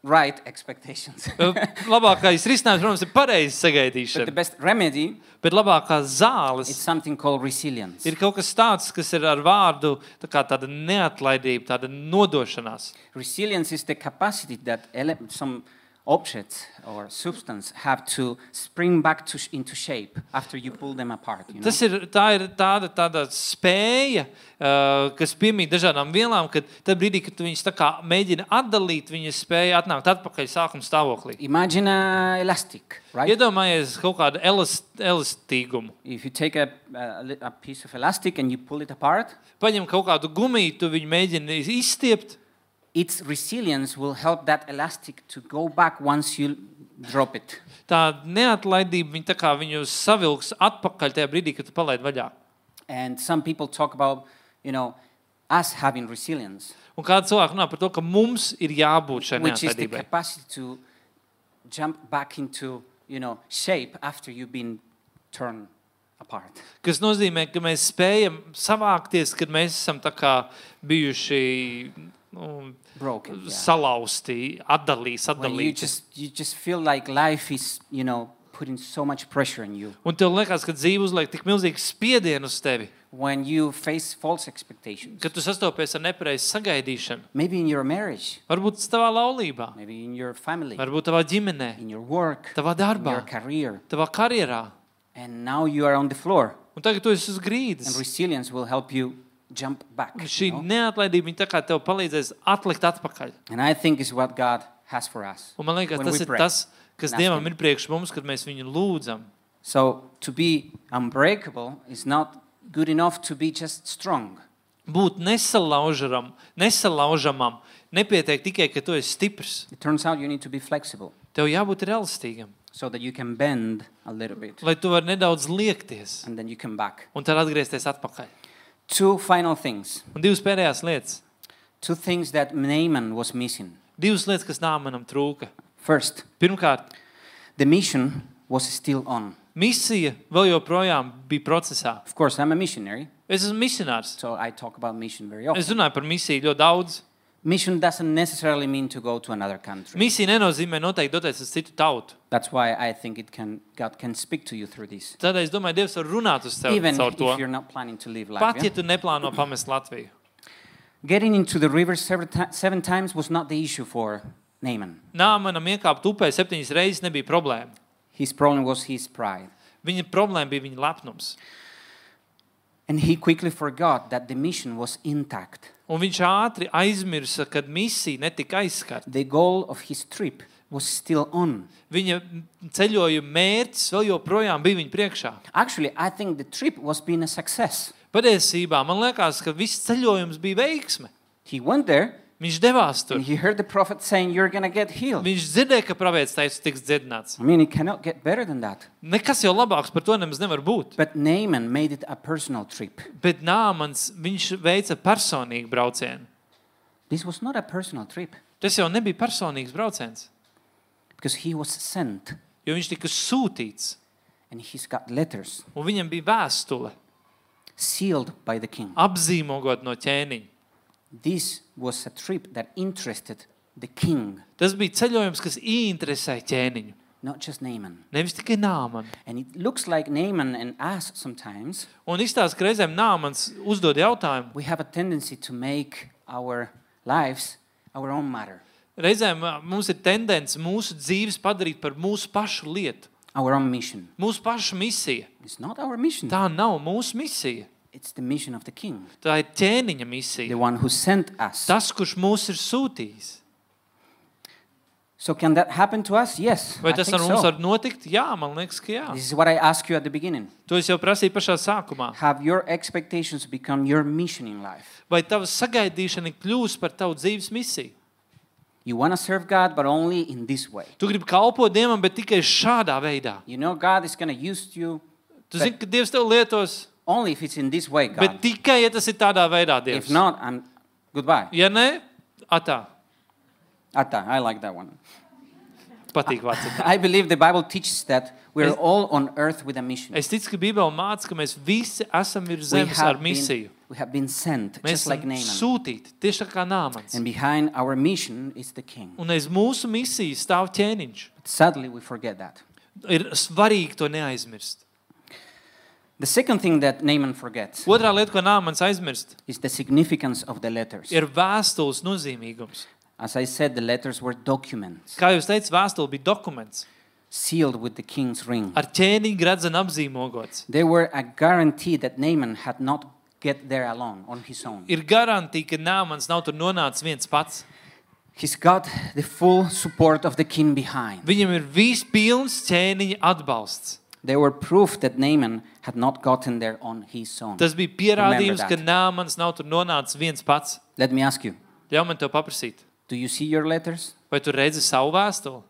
Speaker 2: right expectations.
Speaker 1: Uh, Labākais risinājums, protams, ir pareizi
Speaker 2: but the
Speaker 1: sagaidīšana.
Speaker 2: best remedy
Speaker 1: Bet labākā
Speaker 2: is
Speaker 1: zāles
Speaker 2: something called resilience.
Speaker 1: ir kaut kas tāds, kas ir ar vārdu tā kā tāda neatlaidība, tāda nodošanās.
Speaker 2: Resilience is the capacity that ele- some objects or substance have to spring back to sh- into shape after you pull them apart. You know?
Speaker 1: Tas ir, tā ir tāda, tāda spēja, uh, kas piemīt dažādām vielām, kad tad brīdī, kad tu viņus tā kā mēģini atdalīt, viņas spēja atnākt atpakaļ sākuma stāvoklī.
Speaker 2: Imagine an elastic, right?
Speaker 1: Iedomājies kaut kādu elast, elastīgumu.
Speaker 2: If you take a, a, li- a piece of elastic and you pull it apart,
Speaker 1: Paņem kaut kādu gumiju, tu viņu mēģini izstiept.
Speaker 2: its resilience will help that elastic to go back once you drop it.
Speaker 1: Tā neatlaidība viņa tā kā viņu savilks atpakaļ tajā brīdī, kad tu palaid vaļā.
Speaker 2: And some people talk about, you know, us having resilience,
Speaker 1: Un kāda cilvēka runā par to, ka mums ir jābūt šai
Speaker 2: which is the
Speaker 1: neatlaidībai.
Speaker 2: capacity to jump back into, you know, shape after you've been torn apart.
Speaker 1: Tas nozīmē, ka mēs spējam savākties, kad mēs esam tā kā bijuši nu,
Speaker 2: Broken, yeah.
Speaker 1: salauzti, atdalīti,
Speaker 2: When you
Speaker 1: sadalīti.
Speaker 2: just you just feel like life is, you know, putting so much pressure on you.
Speaker 1: Un tev liekas, ka dzīve uzliek tik milzīgu spiedienu uz tevi,
Speaker 2: When you face false expectations.
Speaker 1: ka tu sastopies ar nepareizu sagaidīšanu.
Speaker 2: Maybe in your marriage,
Speaker 1: Varbūt tas tavā laulībā,
Speaker 2: maybe in your family,
Speaker 1: varbūt tavā ģimenē,
Speaker 2: in your work,
Speaker 1: tavā
Speaker 2: in your
Speaker 1: darbā,
Speaker 2: career.
Speaker 1: tavā karjerā.
Speaker 2: And now you are on the floor.
Speaker 1: Un tagad tu esi uz
Speaker 2: And
Speaker 1: grīdas.
Speaker 2: resilience will help you jump back.
Speaker 1: Un
Speaker 2: you
Speaker 1: Šī
Speaker 2: know?
Speaker 1: neatlaidība viņa tā kā tev palīdzēs atlikt atpakaļ.
Speaker 2: And I think is what God has for us.
Speaker 1: Un man liekas,
Speaker 2: when
Speaker 1: tas
Speaker 2: we
Speaker 1: ir
Speaker 2: pray.
Speaker 1: tas, kas
Speaker 2: Nāc
Speaker 1: Dievam
Speaker 2: viņam.
Speaker 1: ir priekš mums, kad mēs viņu lūdzam.
Speaker 2: So to be unbreakable is not good enough to be just strong.
Speaker 1: būt nesalaužamam, nesalaužamam nepietiek tikai, ka tu esi stiprs.
Speaker 2: It turns out you need to be flexible
Speaker 1: Tev jābūt ir elastīgam,
Speaker 2: so that you can bend a little bit
Speaker 1: lai tu varētu nedaudz liekties
Speaker 2: and then you come back.
Speaker 1: un tad atgriezties atpakaļ.
Speaker 2: Two final things.
Speaker 1: Un divas pēdējās lietas,
Speaker 2: Two things that Naaman was missing.
Speaker 1: divas lietas kas nāmanam trūka.
Speaker 2: First,
Speaker 1: Pirmkārt,
Speaker 2: the mission was still on.
Speaker 1: misija vēl joprojām bija procesā.
Speaker 2: Of course, I'm a missionary,
Speaker 1: Es esmu misionārs.
Speaker 2: so I talk about mission very often.
Speaker 1: Es runāju par misiju ļoti daudz.
Speaker 2: Mission doesn't necessarily mean to go to another country.
Speaker 1: Misija nenozīmē noteikti doties uz citu tautu.
Speaker 2: That's why I think it can, God can speak to you through this.
Speaker 1: Tad es domāju, Dievs var runāt uz tevi
Speaker 2: Even
Speaker 1: caur
Speaker 2: if
Speaker 1: to.
Speaker 2: you're not planning to leave
Speaker 1: Pat ja
Speaker 2: Latvia.
Speaker 1: tu neplāno pamest Latviju.
Speaker 2: Getting into the river several ti- seven times was not the issue for Naaman.
Speaker 1: Nāmanam iekāpt upē septiņas reizes nebija problēma.
Speaker 2: His problem was his pride.
Speaker 1: Viņa problēma bija viņa lepnums.
Speaker 2: And he quickly forgot that the mission was intact.
Speaker 1: Un viņš ātri aizmirsa, kad misija netika aizskarta.
Speaker 2: The goal of his trip was still on.
Speaker 1: Viņa ceļojuma mērķis vēl joprojām bija viņa priekšā.
Speaker 2: Actually, I think the trip was being a success.
Speaker 1: Patiesībā man liekas, ka viss ceļojums bija veiksme.
Speaker 2: He went there
Speaker 1: Viņš devās
Speaker 2: and
Speaker 1: tur.
Speaker 2: he heard the prophet saying, You're going to get healed.
Speaker 1: Viņš dzirdēja, ka pravietis teica, tiks dziedināts.
Speaker 2: I mean, it cannot get better than that.
Speaker 1: Nekas jau labāks par to nemaz nevar būt.
Speaker 2: But Naaman made it a personal trip.
Speaker 1: Bet Nāmans viņš veica personīgu braucienu.
Speaker 2: This was not a personal trip
Speaker 1: Tas jau nebija personīgs brauciens,
Speaker 2: because he was sent
Speaker 1: jo viņš tika sūtīts
Speaker 2: and he's got letters
Speaker 1: un viņam bija vēstule
Speaker 2: sealed by the king.
Speaker 1: apzīmogot no ķēniņa.
Speaker 2: This was a trip that interested the king,
Speaker 1: Tas bija ceļojums, kas ieinteresēja ķēniņu,
Speaker 2: not just Naaman.
Speaker 1: nevis tikai Nāmanu.
Speaker 2: And it looks like Naaman and us sometimes,
Speaker 1: Un izstāsta, ka reizēm Nāmans uzdod jautājumu.
Speaker 2: we have a tendency to make our lives our own matter,
Speaker 1: Reizēm ā, mums ir tendence mūsu dzīves padarīt par mūsu pašu lietu,
Speaker 2: our own mission.
Speaker 1: mūsu pašu misiju.
Speaker 2: It's not our mission,
Speaker 1: Tā nav mūsu misija.
Speaker 2: it's the mission of the king,
Speaker 1: Tā ir ķēniņa
Speaker 2: the
Speaker 1: misija.
Speaker 2: one who sent us.
Speaker 1: Tas, kurš mūs ir sūtījis.
Speaker 2: So, can that happen to us? Yes.
Speaker 1: Vai
Speaker 2: I
Speaker 1: tas
Speaker 2: think
Speaker 1: ar mums
Speaker 2: so.
Speaker 1: var notikt? Jā, man liekas, ka jā.
Speaker 2: This is what I asked you at the beginning.
Speaker 1: To es jau prasīju pašā sākumā.
Speaker 2: Have your expectations become your mission in life?
Speaker 1: Vai tava sagaidīšana kļūs par tavu dzīves misiju?
Speaker 2: You want to serve God, but only in this way.
Speaker 1: Tu gribi kalpot Dievam, bet tikai šādā veidā.
Speaker 2: You know God is going to use you
Speaker 1: Tu zini, ka Dievs tev lietos,
Speaker 2: only if it's in this way,
Speaker 1: bet
Speaker 2: God.
Speaker 1: tikai ja tas ir tādā veidā, Dievs.
Speaker 2: If not, I'm goodbye.
Speaker 1: Ja ah, nē, atā,
Speaker 2: Atta, I like that one.
Speaker 1: patīk vārds.
Speaker 2: I believe the Bible teaches that we're all on earth with a mission.
Speaker 1: Es ticu, ka Bībelē māca, ka mēs visi esam virs zemes ar misiju.
Speaker 2: been, we have been sent,
Speaker 1: Mēs
Speaker 2: just like
Speaker 1: esam
Speaker 2: Naaman.
Speaker 1: sūtīti tieši tā kā Nāmans.
Speaker 2: And behind our mission is the king.
Speaker 1: Un aiz mūsu misiju stāv ķēniņš.
Speaker 2: But sadly, we forget that.
Speaker 1: Ir svarīgi to neaizmirst.
Speaker 2: The second thing that Naaman forgets
Speaker 1: Otra lieta, ko Nāmans aizmirst,
Speaker 2: is the significance of the letters.
Speaker 1: ir vēstules nozīmīgums.
Speaker 2: As I said, the letters were documents
Speaker 1: Kā jūs teicāt, vēstule bija dokuments
Speaker 2: sealed with the king's ring.
Speaker 1: ar ķēniņa redzenu apzīmogots.
Speaker 2: They were a guarantee that Naaman had not get there alone on his own.
Speaker 1: Ir garantīva, ka Nāmans nav tur nonācis viens pats.
Speaker 2: He's got the full support of the king behind.
Speaker 1: Viņam ir vispilns ķēniņa atbalsts.
Speaker 2: They were proof that Naaman had not gotten there on his own.
Speaker 1: Tas bija pierādījums,
Speaker 2: that.
Speaker 1: ka Nāmans nav tur nonācis viens pats.
Speaker 2: Let me ask you
Speaker 1: Ļauj man te paprasīt,
Speaker 2: do you see your letters?
Speaker 1: vai tu redzi savu vēstuli?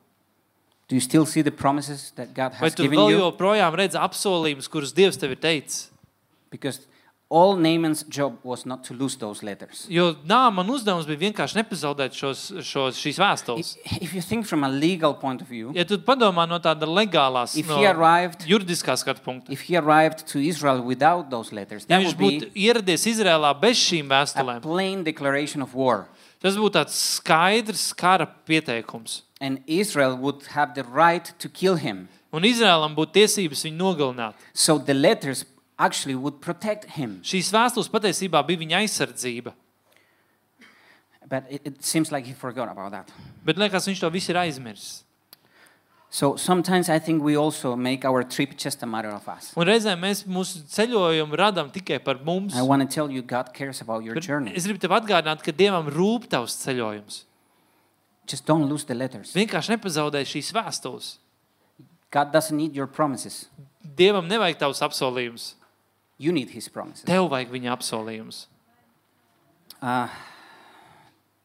Speaker 2: Do you still see the promises that God
Speaker 1: Vai
Speaker 2: has
Speaker 1: tu
Speaker 2: given
Speaker 1: vēl
Speaker 2: you?
Speaker 1: joprojām redzi apsolījumus, kurus Dievs tev ir teicis?
Speaker 2: Because all Naaman's job was not to lose those letters.
Speaker 1: Jo Nāmana uzdevums bija vienkārši nepazaudēt šos, šos, šīs vēstules.
Speaker 2: If, if you think from a legal point of view,
Speaker 1: Ja tu padomā no tāda legālā,
Speaker 2: If
Speaker 1: no
Speaker 2: he arrived-
Speaker 1: juridiskā skatu punkta,
Speaker 2: if he arrived to Israel without those letters,
Speaker 1: ja
Speaker 2: that
Speaker 1: viņš
Speaker 2: would
Speaker 1: būtu
Speaker 2: be
Speaker 1: ieradies Izrēlā bez šīm
Speaker 2: a
Speaker 1: vēstulēm,
Speaker 2: plain declaration of war.
Speaker 1: tas būtu tāds skaidrs kara pieteikums.
Speaker 2: And Israel would have the right to kill him.
Speaker 1: Un Izrēlam būtu tiesības viņu nogalināt.
Speaker 2: So the letters actually would protect him.
Speaker 1: Šīs vēstules patiesībā bija viņa aizsardzība.
Speaker 2: But it, it seems like he forgot about that.
Speaker 1: Bet liekas, viņš to visu ir aizmirsis.
Speaker 2: So sometimes I think we also make our trip just a matter of us.
Speaker 1: Un reizēm mēs mūsu ceļojumu radām tikai par mums.
Speaker 2: I want to tell you, God cares about your
Speaker 1: Bet
Speaker 2: journey.
Speaker 1: Es gribu tev atgādināt, ka Dievam rūp tavs ceļojums.
Speaker 2: Just don't lose the letters.
Speaker 1: Vienkārši nepazaudēji šīs vēstules.
Speaker 2: God doesn't need your promises.
Speaker 1: Dievam nevajag tavs apsolījums.
Speaker 2: You need His promises.
Speaker 1: Tev vajag viņa apsolījums.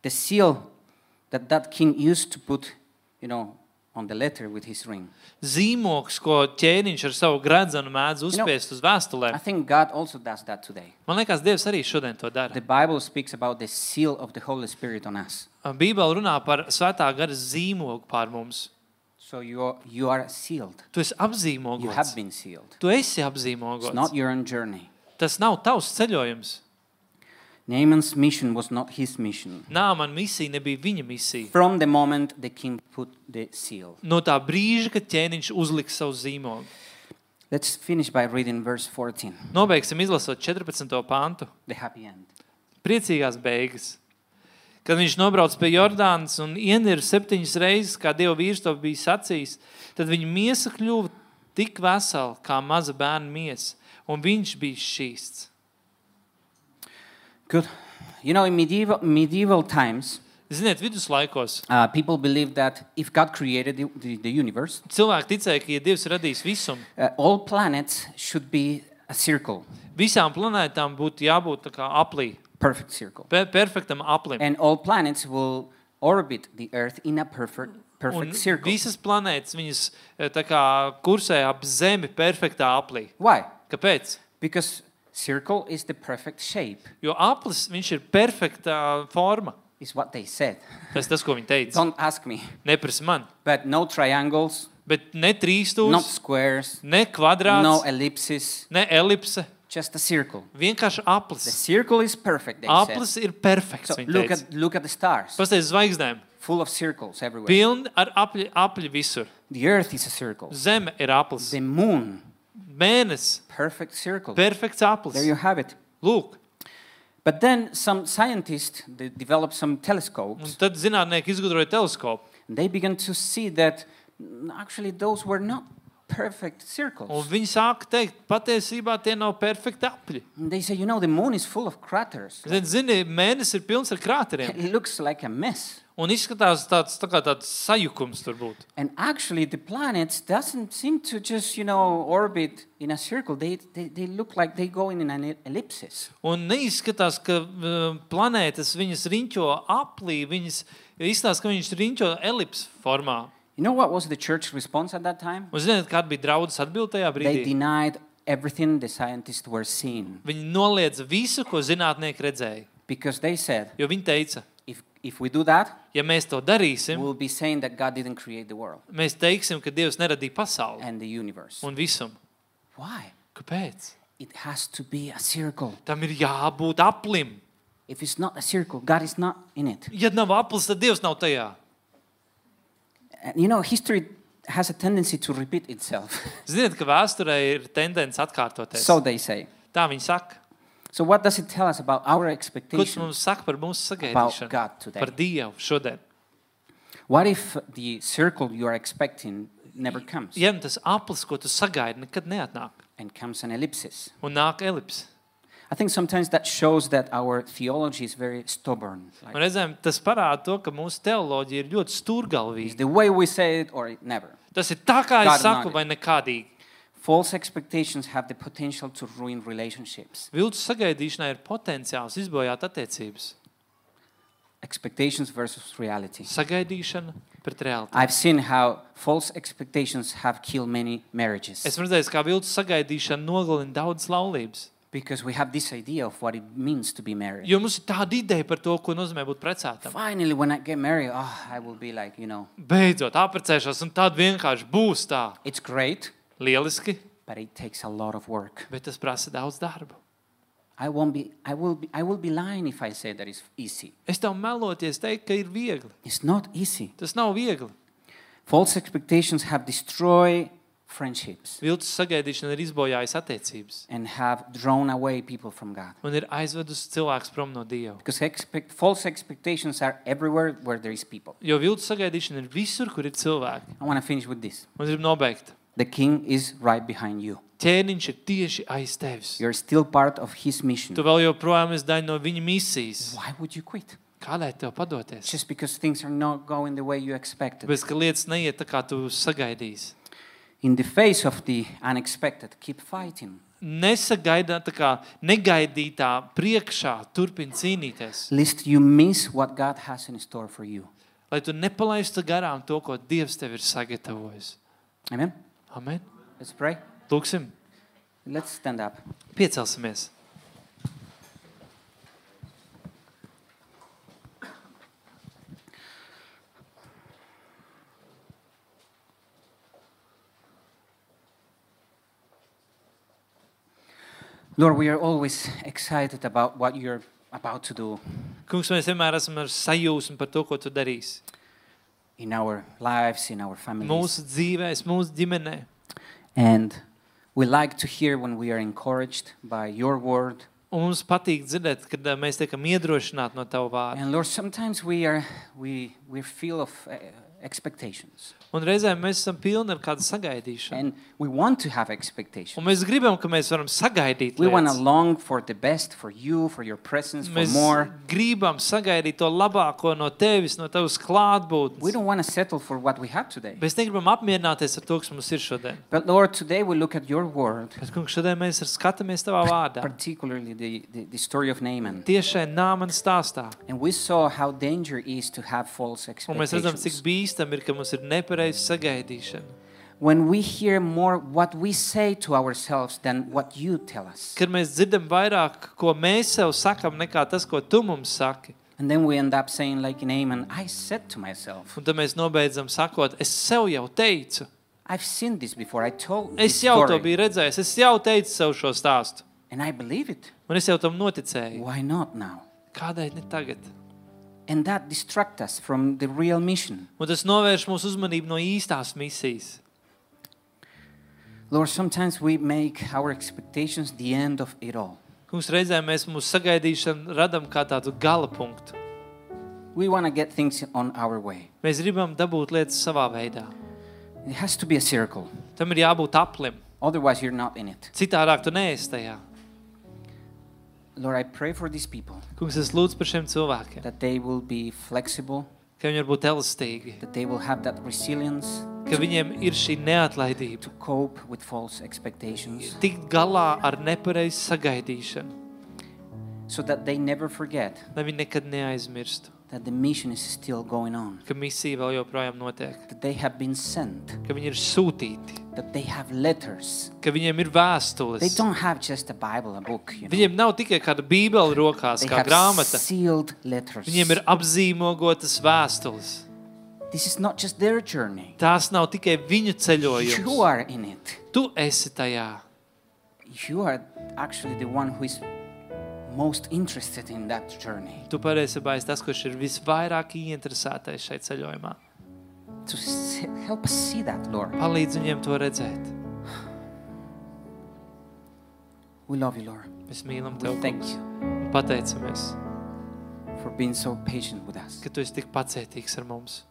Speaker 2: The seal that that king used to put, you know, on the letter with his ring.
Speaker 1: Zīmoks, ko ķēniņš ar savu gradzenu mēdz uzspiest uz
Speaker 2: I
Speaker 1: vēstulēm.
Speaker 2: think God also does that today.
Speaker 1: Man liekas, Dievs arī šodien to dara.
Speaker 2: The Bible speaks about the seal of the Holy Spirit on us.
Speaker 1: Bībeli runā par svētā gara zīmogu pār mums.
Speaker 2: So you are, you are sealed.
Speaker 1: Tu esi
Speaker 2: You have
Speaker 1: apzīmogots.
Speaker 2: been sealed.
Speaker 1: Tu esi
Speaker 2: It's not
Speaker 1: apzīmogots.
Speaker 2: your own journey.
Speaker 1: Tas nav tavs ceļojums.
Speaker 2: Naaman's mission was not his mission.
Speaker 1: Nā, man misija nebija viņa misija.
Speaker 2: From the moment the king put the seal.
Speaker 1: No tā brīža, kad ķēniņš uzlika savu zīmogu.
Speaker 2: Let's finish by reading verse 14,
Speaker 1: Nobeigsim izlasot 14. pāntu.
Speaker 2: the happy end.
Speaker 1: priecīgās beigas. Kad viņš nobrauca pie Jordānas un ienirda septiņas reizes, kā Dieva vīrs to bija sacījis, tad viņa miesa kļuva tik vesela kā maza bērna miesa, un viņš bija šīsts.
Speaker 2: Good. You know, in medieval, medieval times,
Speaker 1: Ziniet, viduslaikos
Speaker 2: uh, people believed that if God created the, the, the universe,
Speaker 1: cilvēki ticēja, ka, ja Dievs radīs visumu,
Speaker 2: uh, all planets should be a circle,
Speaker 1: visām planētām būtu jābūt tā kā aplī,
Speaker 2: perfect circle.
Speaker 1: pe perfektam aplim.
Speaker 2: And all planets will orbit the Earth in a perfect,
Speaker 1: Un
Speaker 2: perfect circle.
Speaker 1: visas planētas viņas eh, tā kā kursē ap Zemi perfektā aplī.
Speaker 2: Why?
Speaker 1: Kāpēc?
Speaker 2: Because circle is the perfect shape,
Speaker 1: Jo aplis viņš ir perfektā forma.
Speaker 2: is what they said.
Speaker 1: Tas tas, ko viņi teica.
Speaker 2: Don't ask me.
Speaker 1: Neprasa man.
Speaker 2: But no triangles,
Speaker 1: Bet ne
Speaker 2: no
Speaker 1: trīsstūris,
Speaker 2: squares,
Speaker 1: ne kvadrāts,
Speaker 2: no
Speaker 1: no.
Speaker 2: ellipses,
Speaker 1: ne elipse.
Speaker 2: just a circle.
Speaker 1: Vienkārši
Speaker 2: The
Speaker 1: aplis.
Speaker 2: circle is perfect, they said.
Speaker 1: Aplis ir perfekts.
Speaker 2: So look at look at the stars,
Speaker 1: Pastāstiet zvaigznēm.
Speaker 2: full of circles everywhere.
Speaker 1: Pilni ar apli, apli visur.
Speaker 2: The Earth is a circle.
Speaker 1: Zeme ir aplis.
Speaker 2: The moon,
Speaker 1: Mēnesis.
Speaker 2: perfect circle.
Speaker 1: Perfekts
Speaker 2: There
Speaker 1: aplis.
Speaker 2: you have it.
Speaker 1: Lūk.
Speaker 2: But then some scientists they developed some
Speaker 1: Un
Speaker 2: telescopes.
Speaker 1: tad zinātnieki izgudroja teleskopu.
Speaker 2: And they began to see that mm, actually those were not perfect
Speaker 1: Un
Speaker 2: circles.
Speaker 1: viņi sāka teikt, patiesībā tie nav perfekti apļi.
Speaker 2: And they say, you know, the moon is full of craters.
Speaker 1: Zini, zini, mēnesis ir pilns ar krāteriem.
Speaker 2: It looks like a mess.
Speaker 1: Un izskatās tāds, tā kā tāds sajukums tur būtu.
Speaker 2: And actually, the planets doesn't seem to just, you know, orbit in a circle. They, they, they look like they go in an e-, ellipsis.
Speaker 1: Un neizskatās, ka uh, planētas viņas riņķo aplī, viņas izskatās, ka viņas riņķo elips formā.
Speaker 2: You know what was the church response at that time?
Speaker 1: Un ziniet, kāda bija draudzes atbilde tajā
Speaker 2: They
Speaker 1: brīdī?
Speaker 2: denied everything the scientists were seeing
Speaker 1: Viņi noliedza visu, ko zinātnieki redzēja.
Speaker 2: because they said,
Speaker 1: Jo viņi teica,
Speaker 2: if, if we do that,
Speaker 1: ja mēs to darīsim,
Speaker 2: we'll be saying that God didn't create the world
Speaker 1: mēs teiksim, ka Dievs neradīja pasauli
Speaker 2: and the universe.
Speaker 1: un visumu.
Speaker 2: Why?
Speaker 1: Kāpēc?
Speaker 2: It has to be a circle.
Speaker 1: Tam ir jābūt aplim.
Speaker 2: If it's not a circle, God is not in it.
Speaker 1: Ja nav aplis, tad Dievs nav tajā.
Speaker 2: And you know, history has a tendency to repeat itself.
Speaker 1: Ziniet, ka vēsturē ir tendence atkārtoties.
Speaker 2: so they say.
Speaker 1: Tā viņi saka.
Speaker 2: So, what does it tell us about our
Speaker 1: Ko tas
Speaker 2: expectations?
Speaker 1: mums saka par mūsu
Speaker 2: About
Speaker 1: sagaidīšanu?
Speaker 2: God today.
Speaker 1: Par Dievu šodien.
Speaker 2: What if the circle you are expecting never comes
Speaker 1: Ja nu tas aplis, ko tu sagaidi, nekad neatnāk.
Speaker 2: and comes an ellipsis?
Speaker 1: Un nāk elips.
Speaker 2: I think sometimes that shows that our theology is very stubborn. Like,
Speaker 1: Man reizēm tas parāda to, ka mūsu teoloģija ir ļoti
Speaker 2: It's
Speaker 1: stūrgalvīga.
Speaker 2: the way we say it or it never.
Speaker 1: Tas ir tā, kā es
Speaker 2: Kādi
Speaker 1: saku,
Speaker 2: nāk.
Speaker 1: vai nekādīgi.
Speaker 2: False expectations have the potential to ruin relationships.
Speaker 1: Viltus sagaidīšanai ir potenciāls izbojāt attiecības.
Speaker 2: Expectations versus reality.
Speaker 1: Sagaidīšana pret realitāti.
Speaker 2: I've seen how false expectations have killed many
Speaker 1: Es
Speaker 2: marriages
Speaker 1: redzēju, kā viltus sagaidīšana nogalina daudzas laulības.
Speaker 2: because we have this idea of what it means to be married.
Speaker 1: Jo mums ir tāda ideja par to, ko nozīmē būt precētam.
Speaker 2: Finally, when I get married, oh, I will be like, you know,
Speaker 1: Beidzot, apprecēšos, un tad vienkārši būs tā.
Speaker 2: it's great,
Speaker 1: Lieliski,
Speaker 2: but it takes a lot of work.
Speaker 1: bet tas prasa daudz darba.
Speaker 2: I won't be, I will be, I will be lying if I say that it's easy.
Speaker 1: Es tev meloties teikt, ka ir viegli.
Speaker 2: It's not easy.
Speaker 1: Tas nav viegli.
Speaker 2: False expectations have destroyed friendships
Speaker 1: Viltus sagaidīšana ir izbojājusi attiecības
Speaker 2: and have drawn away people from God.
Speaker 1: un ir aizvedusi cilvēks prom no Dieva.
Speaker 2: Because expect, false expectations are everywhere where there is people.
Speaker 1: Jo viltus sagaidīšana ir visur, kur ir cilvēki.
Speaker 2: I want to finish with this.
Speaker 1: Un ir nobeigta.
Speaker 2: The king is right behind you.
Speaker 1: Ķēniņš ir tieši aiz tevis.
Speaker 2: You're still part of his mission.
Speaker 1: Tu vēl joprojām esi daļa no viņa misijas.
Speaker 2: Why would you quit?
Speaker 1: Kādēļ tev padoties?
Speaker 2: Just because things are not going the way you expected.
Speaker 1: Bez ka lietas neiet tā, kā tu sagaidīsi.
Speaker 2: In the face of the unexpected, keep fighting.
Speaker 1: Nesagaidā, tā kā negaidītā priekšā turpina cīnīties.
Speaker 2: Lest you miss what God has in store for you.
Speaker 1: lai tu nepalaistu garām to, ko Dievs tev ir sagatavojis.
Speaker 2: Amen.
Speaker 1: Amen.
Speaker 2: Let's pray.
Speaker 1: Lūksim,
Speaker 2: Let's stand up.
Speaker 1: piecelsimies.
Speaker 2: Lord, we are always excited about what you're about to do
Speaker 1: Kungs, mēs vienmēr esam ar sajūsmu par to, ko tu darīsi.
Speaker 2: in our lives, in our families.
Speaker 1: Mūsu dzīvēs, mūsu ģimenē.
Speaker 2: And we like to hear when we are encouraged by your word.
Speaker 1: Un mums patīk dzirdēt, kad ā, mēs tiekam iedrošināti no tava vārda.
Speaker 2: And Lord, sometimes we are we we feel of uh, expectations.
Speaker 1: Un reizēm mēs esam pilni ar kādu sagaidīšanu.
Speaker 2: And we want to have expectations.
Speaker 1: Un mēs gribam, ka mēs varam sagaidīt
Speaker 2: We want to
Speaker 1: lietas.
Speaker 2: long for the best for you, for your presence, for
Speaker 1: Mēs
Speaker 2: more.
Speaker 1: gribam sagaidīt to labāko no tevis, no tavas
Speaker 2: We
Speaker 1: klātbūtnes.
Speaker 2: don't want to settle for what we have today.
Speaker 1: Mēs negribam apmierināties ar to, kas mums ir šodien.
Speaker 2: But Lord, today we look at your word,
Speaker 1: Bet, kungs, šodien mēs ar- skatāmies tavā vārdā.
Speaker 2: particularly the, the, the story of Naaman.
Speaker 1: Tiešai nāman stāstā.
Speaker 2: And we saw how danger is to have false
Speaker 1: Un mēs redzam, cik
Speaker 2: expectations.
Speaker 1: bīstami ir, ka mums ir nepareiza sagaidīšana.
Speaker 2: When we hear more what we say to ourselves than what you tell us.
Speaker 1: Kad mēs dzirdam vairāk, ko mēs sev sakam, nekā tas, ko tu mums saki.
Speaker 2: And then we end up saying, like Naaman, I said to myself,
Speaker 1: Un tad mēs nobeidzam sakot, es sev jau teicu,
Speaker 2: I've seen this before. I told this
Speaker 1: es jau to
Speaker 2: story,
Speaker 1: biju redzējis, es jau teicu sev šo stāstu.
Speaker 2: and I believe it.
Speaker 1: Un es jau tam noticēju.
Speaker 2: Why not now?
Speaker 1: Kādēļ ne tagad?
Speaker 2: And that distracts us from the real mission.
Speaker 1: Un tas novērš mūsu uzmanību no īstās misijas.
Speaker 2: Lord, sometimes we make our expectations the end of it all.
Speaker 1: Kungs, reizēm mēs mūsu sagaidīšanu radām kā tādu gala punktu.
Speaker 2: We want to get things on our way.
Speaker 1: Mēs gribam dabūt lietas savā veidā.
Speaker 2: It has to be a circle,
Speaker 1: Tam ir jābūt aplim.
Speaker 2: otherwise, you're not in it.
Speaker 1: Citādāk, tu neesi tajā.
Speaker 2: Lord, I pray for these people
Speaker 1: Kungs, es lūdzu par šiem cilvēkiem,
Speaker 2: that they will be flexible,
Speaker 1: ka viņi var būt elastīgi,
Speaker 2: that they will have that resilience
Speaker 1: ka viņiem ir šī neatlaidība.
Speaker 2: to cope with false expectations
Speaker 1: Tikt galā ar nepareizu sagaidīšanu,
Speaker 2: so that they never forget
Speaker 1: lai viņi nekad neaizmirstu,
Speaker 2: that the mission is still going on,
Speaker 1: ka misija vēl joprojām notiek,
Speaker 2: that they have been sent,
Speaker 1: ka viņi ir sūtīti,
Speaker 2: that they have letters.
Speaker 1: ka viņiem ir
Speaker 2: They
Speaker 1: vēstules.
Speaker 2: don't have just a Bible, a book. You know?
Speaker 1: Viņiem nav tikai kāda bībele rokās,
Speaker 2: They
Speaker 1: kā
Speaker 2: have
Speaker 1: grāmata.
Speaker 2: sealed letters.
Speaker 1: Viņiem ir apzīmogotas vēstules.
Speaker 2: This is not just their journey.
Speaker 1: Tās nav tikai viņu
Speaker 2: You
Speaker 1: ceļojums.
Speaker 2: are in it.
Speaker 1: Tu esi tajā.
Speaker 2: You are actually the one who is most interested in that journey.
Speaker 1: Tu patiesībā esi tas, kurš ir visvairāk ieinteresētais šajā ceļojumā.
Speaker 2: To se- help us see that, Lord.
Speaker 1: Palīdz viņiem to redzēt.
Speaker 2: We love you, Lord.
Speaker 1: Mēs mīlam
Speaker 2: We
Speaker 1: tevi.
Speaker 2: thank
Speaker 1: kungs,
Speaker 2: you
Speaker 1: un Pateicamies,
Speaker 2: for being so patient with us.
Speaker 1: ka tu esi tik pacietīgs ar mums.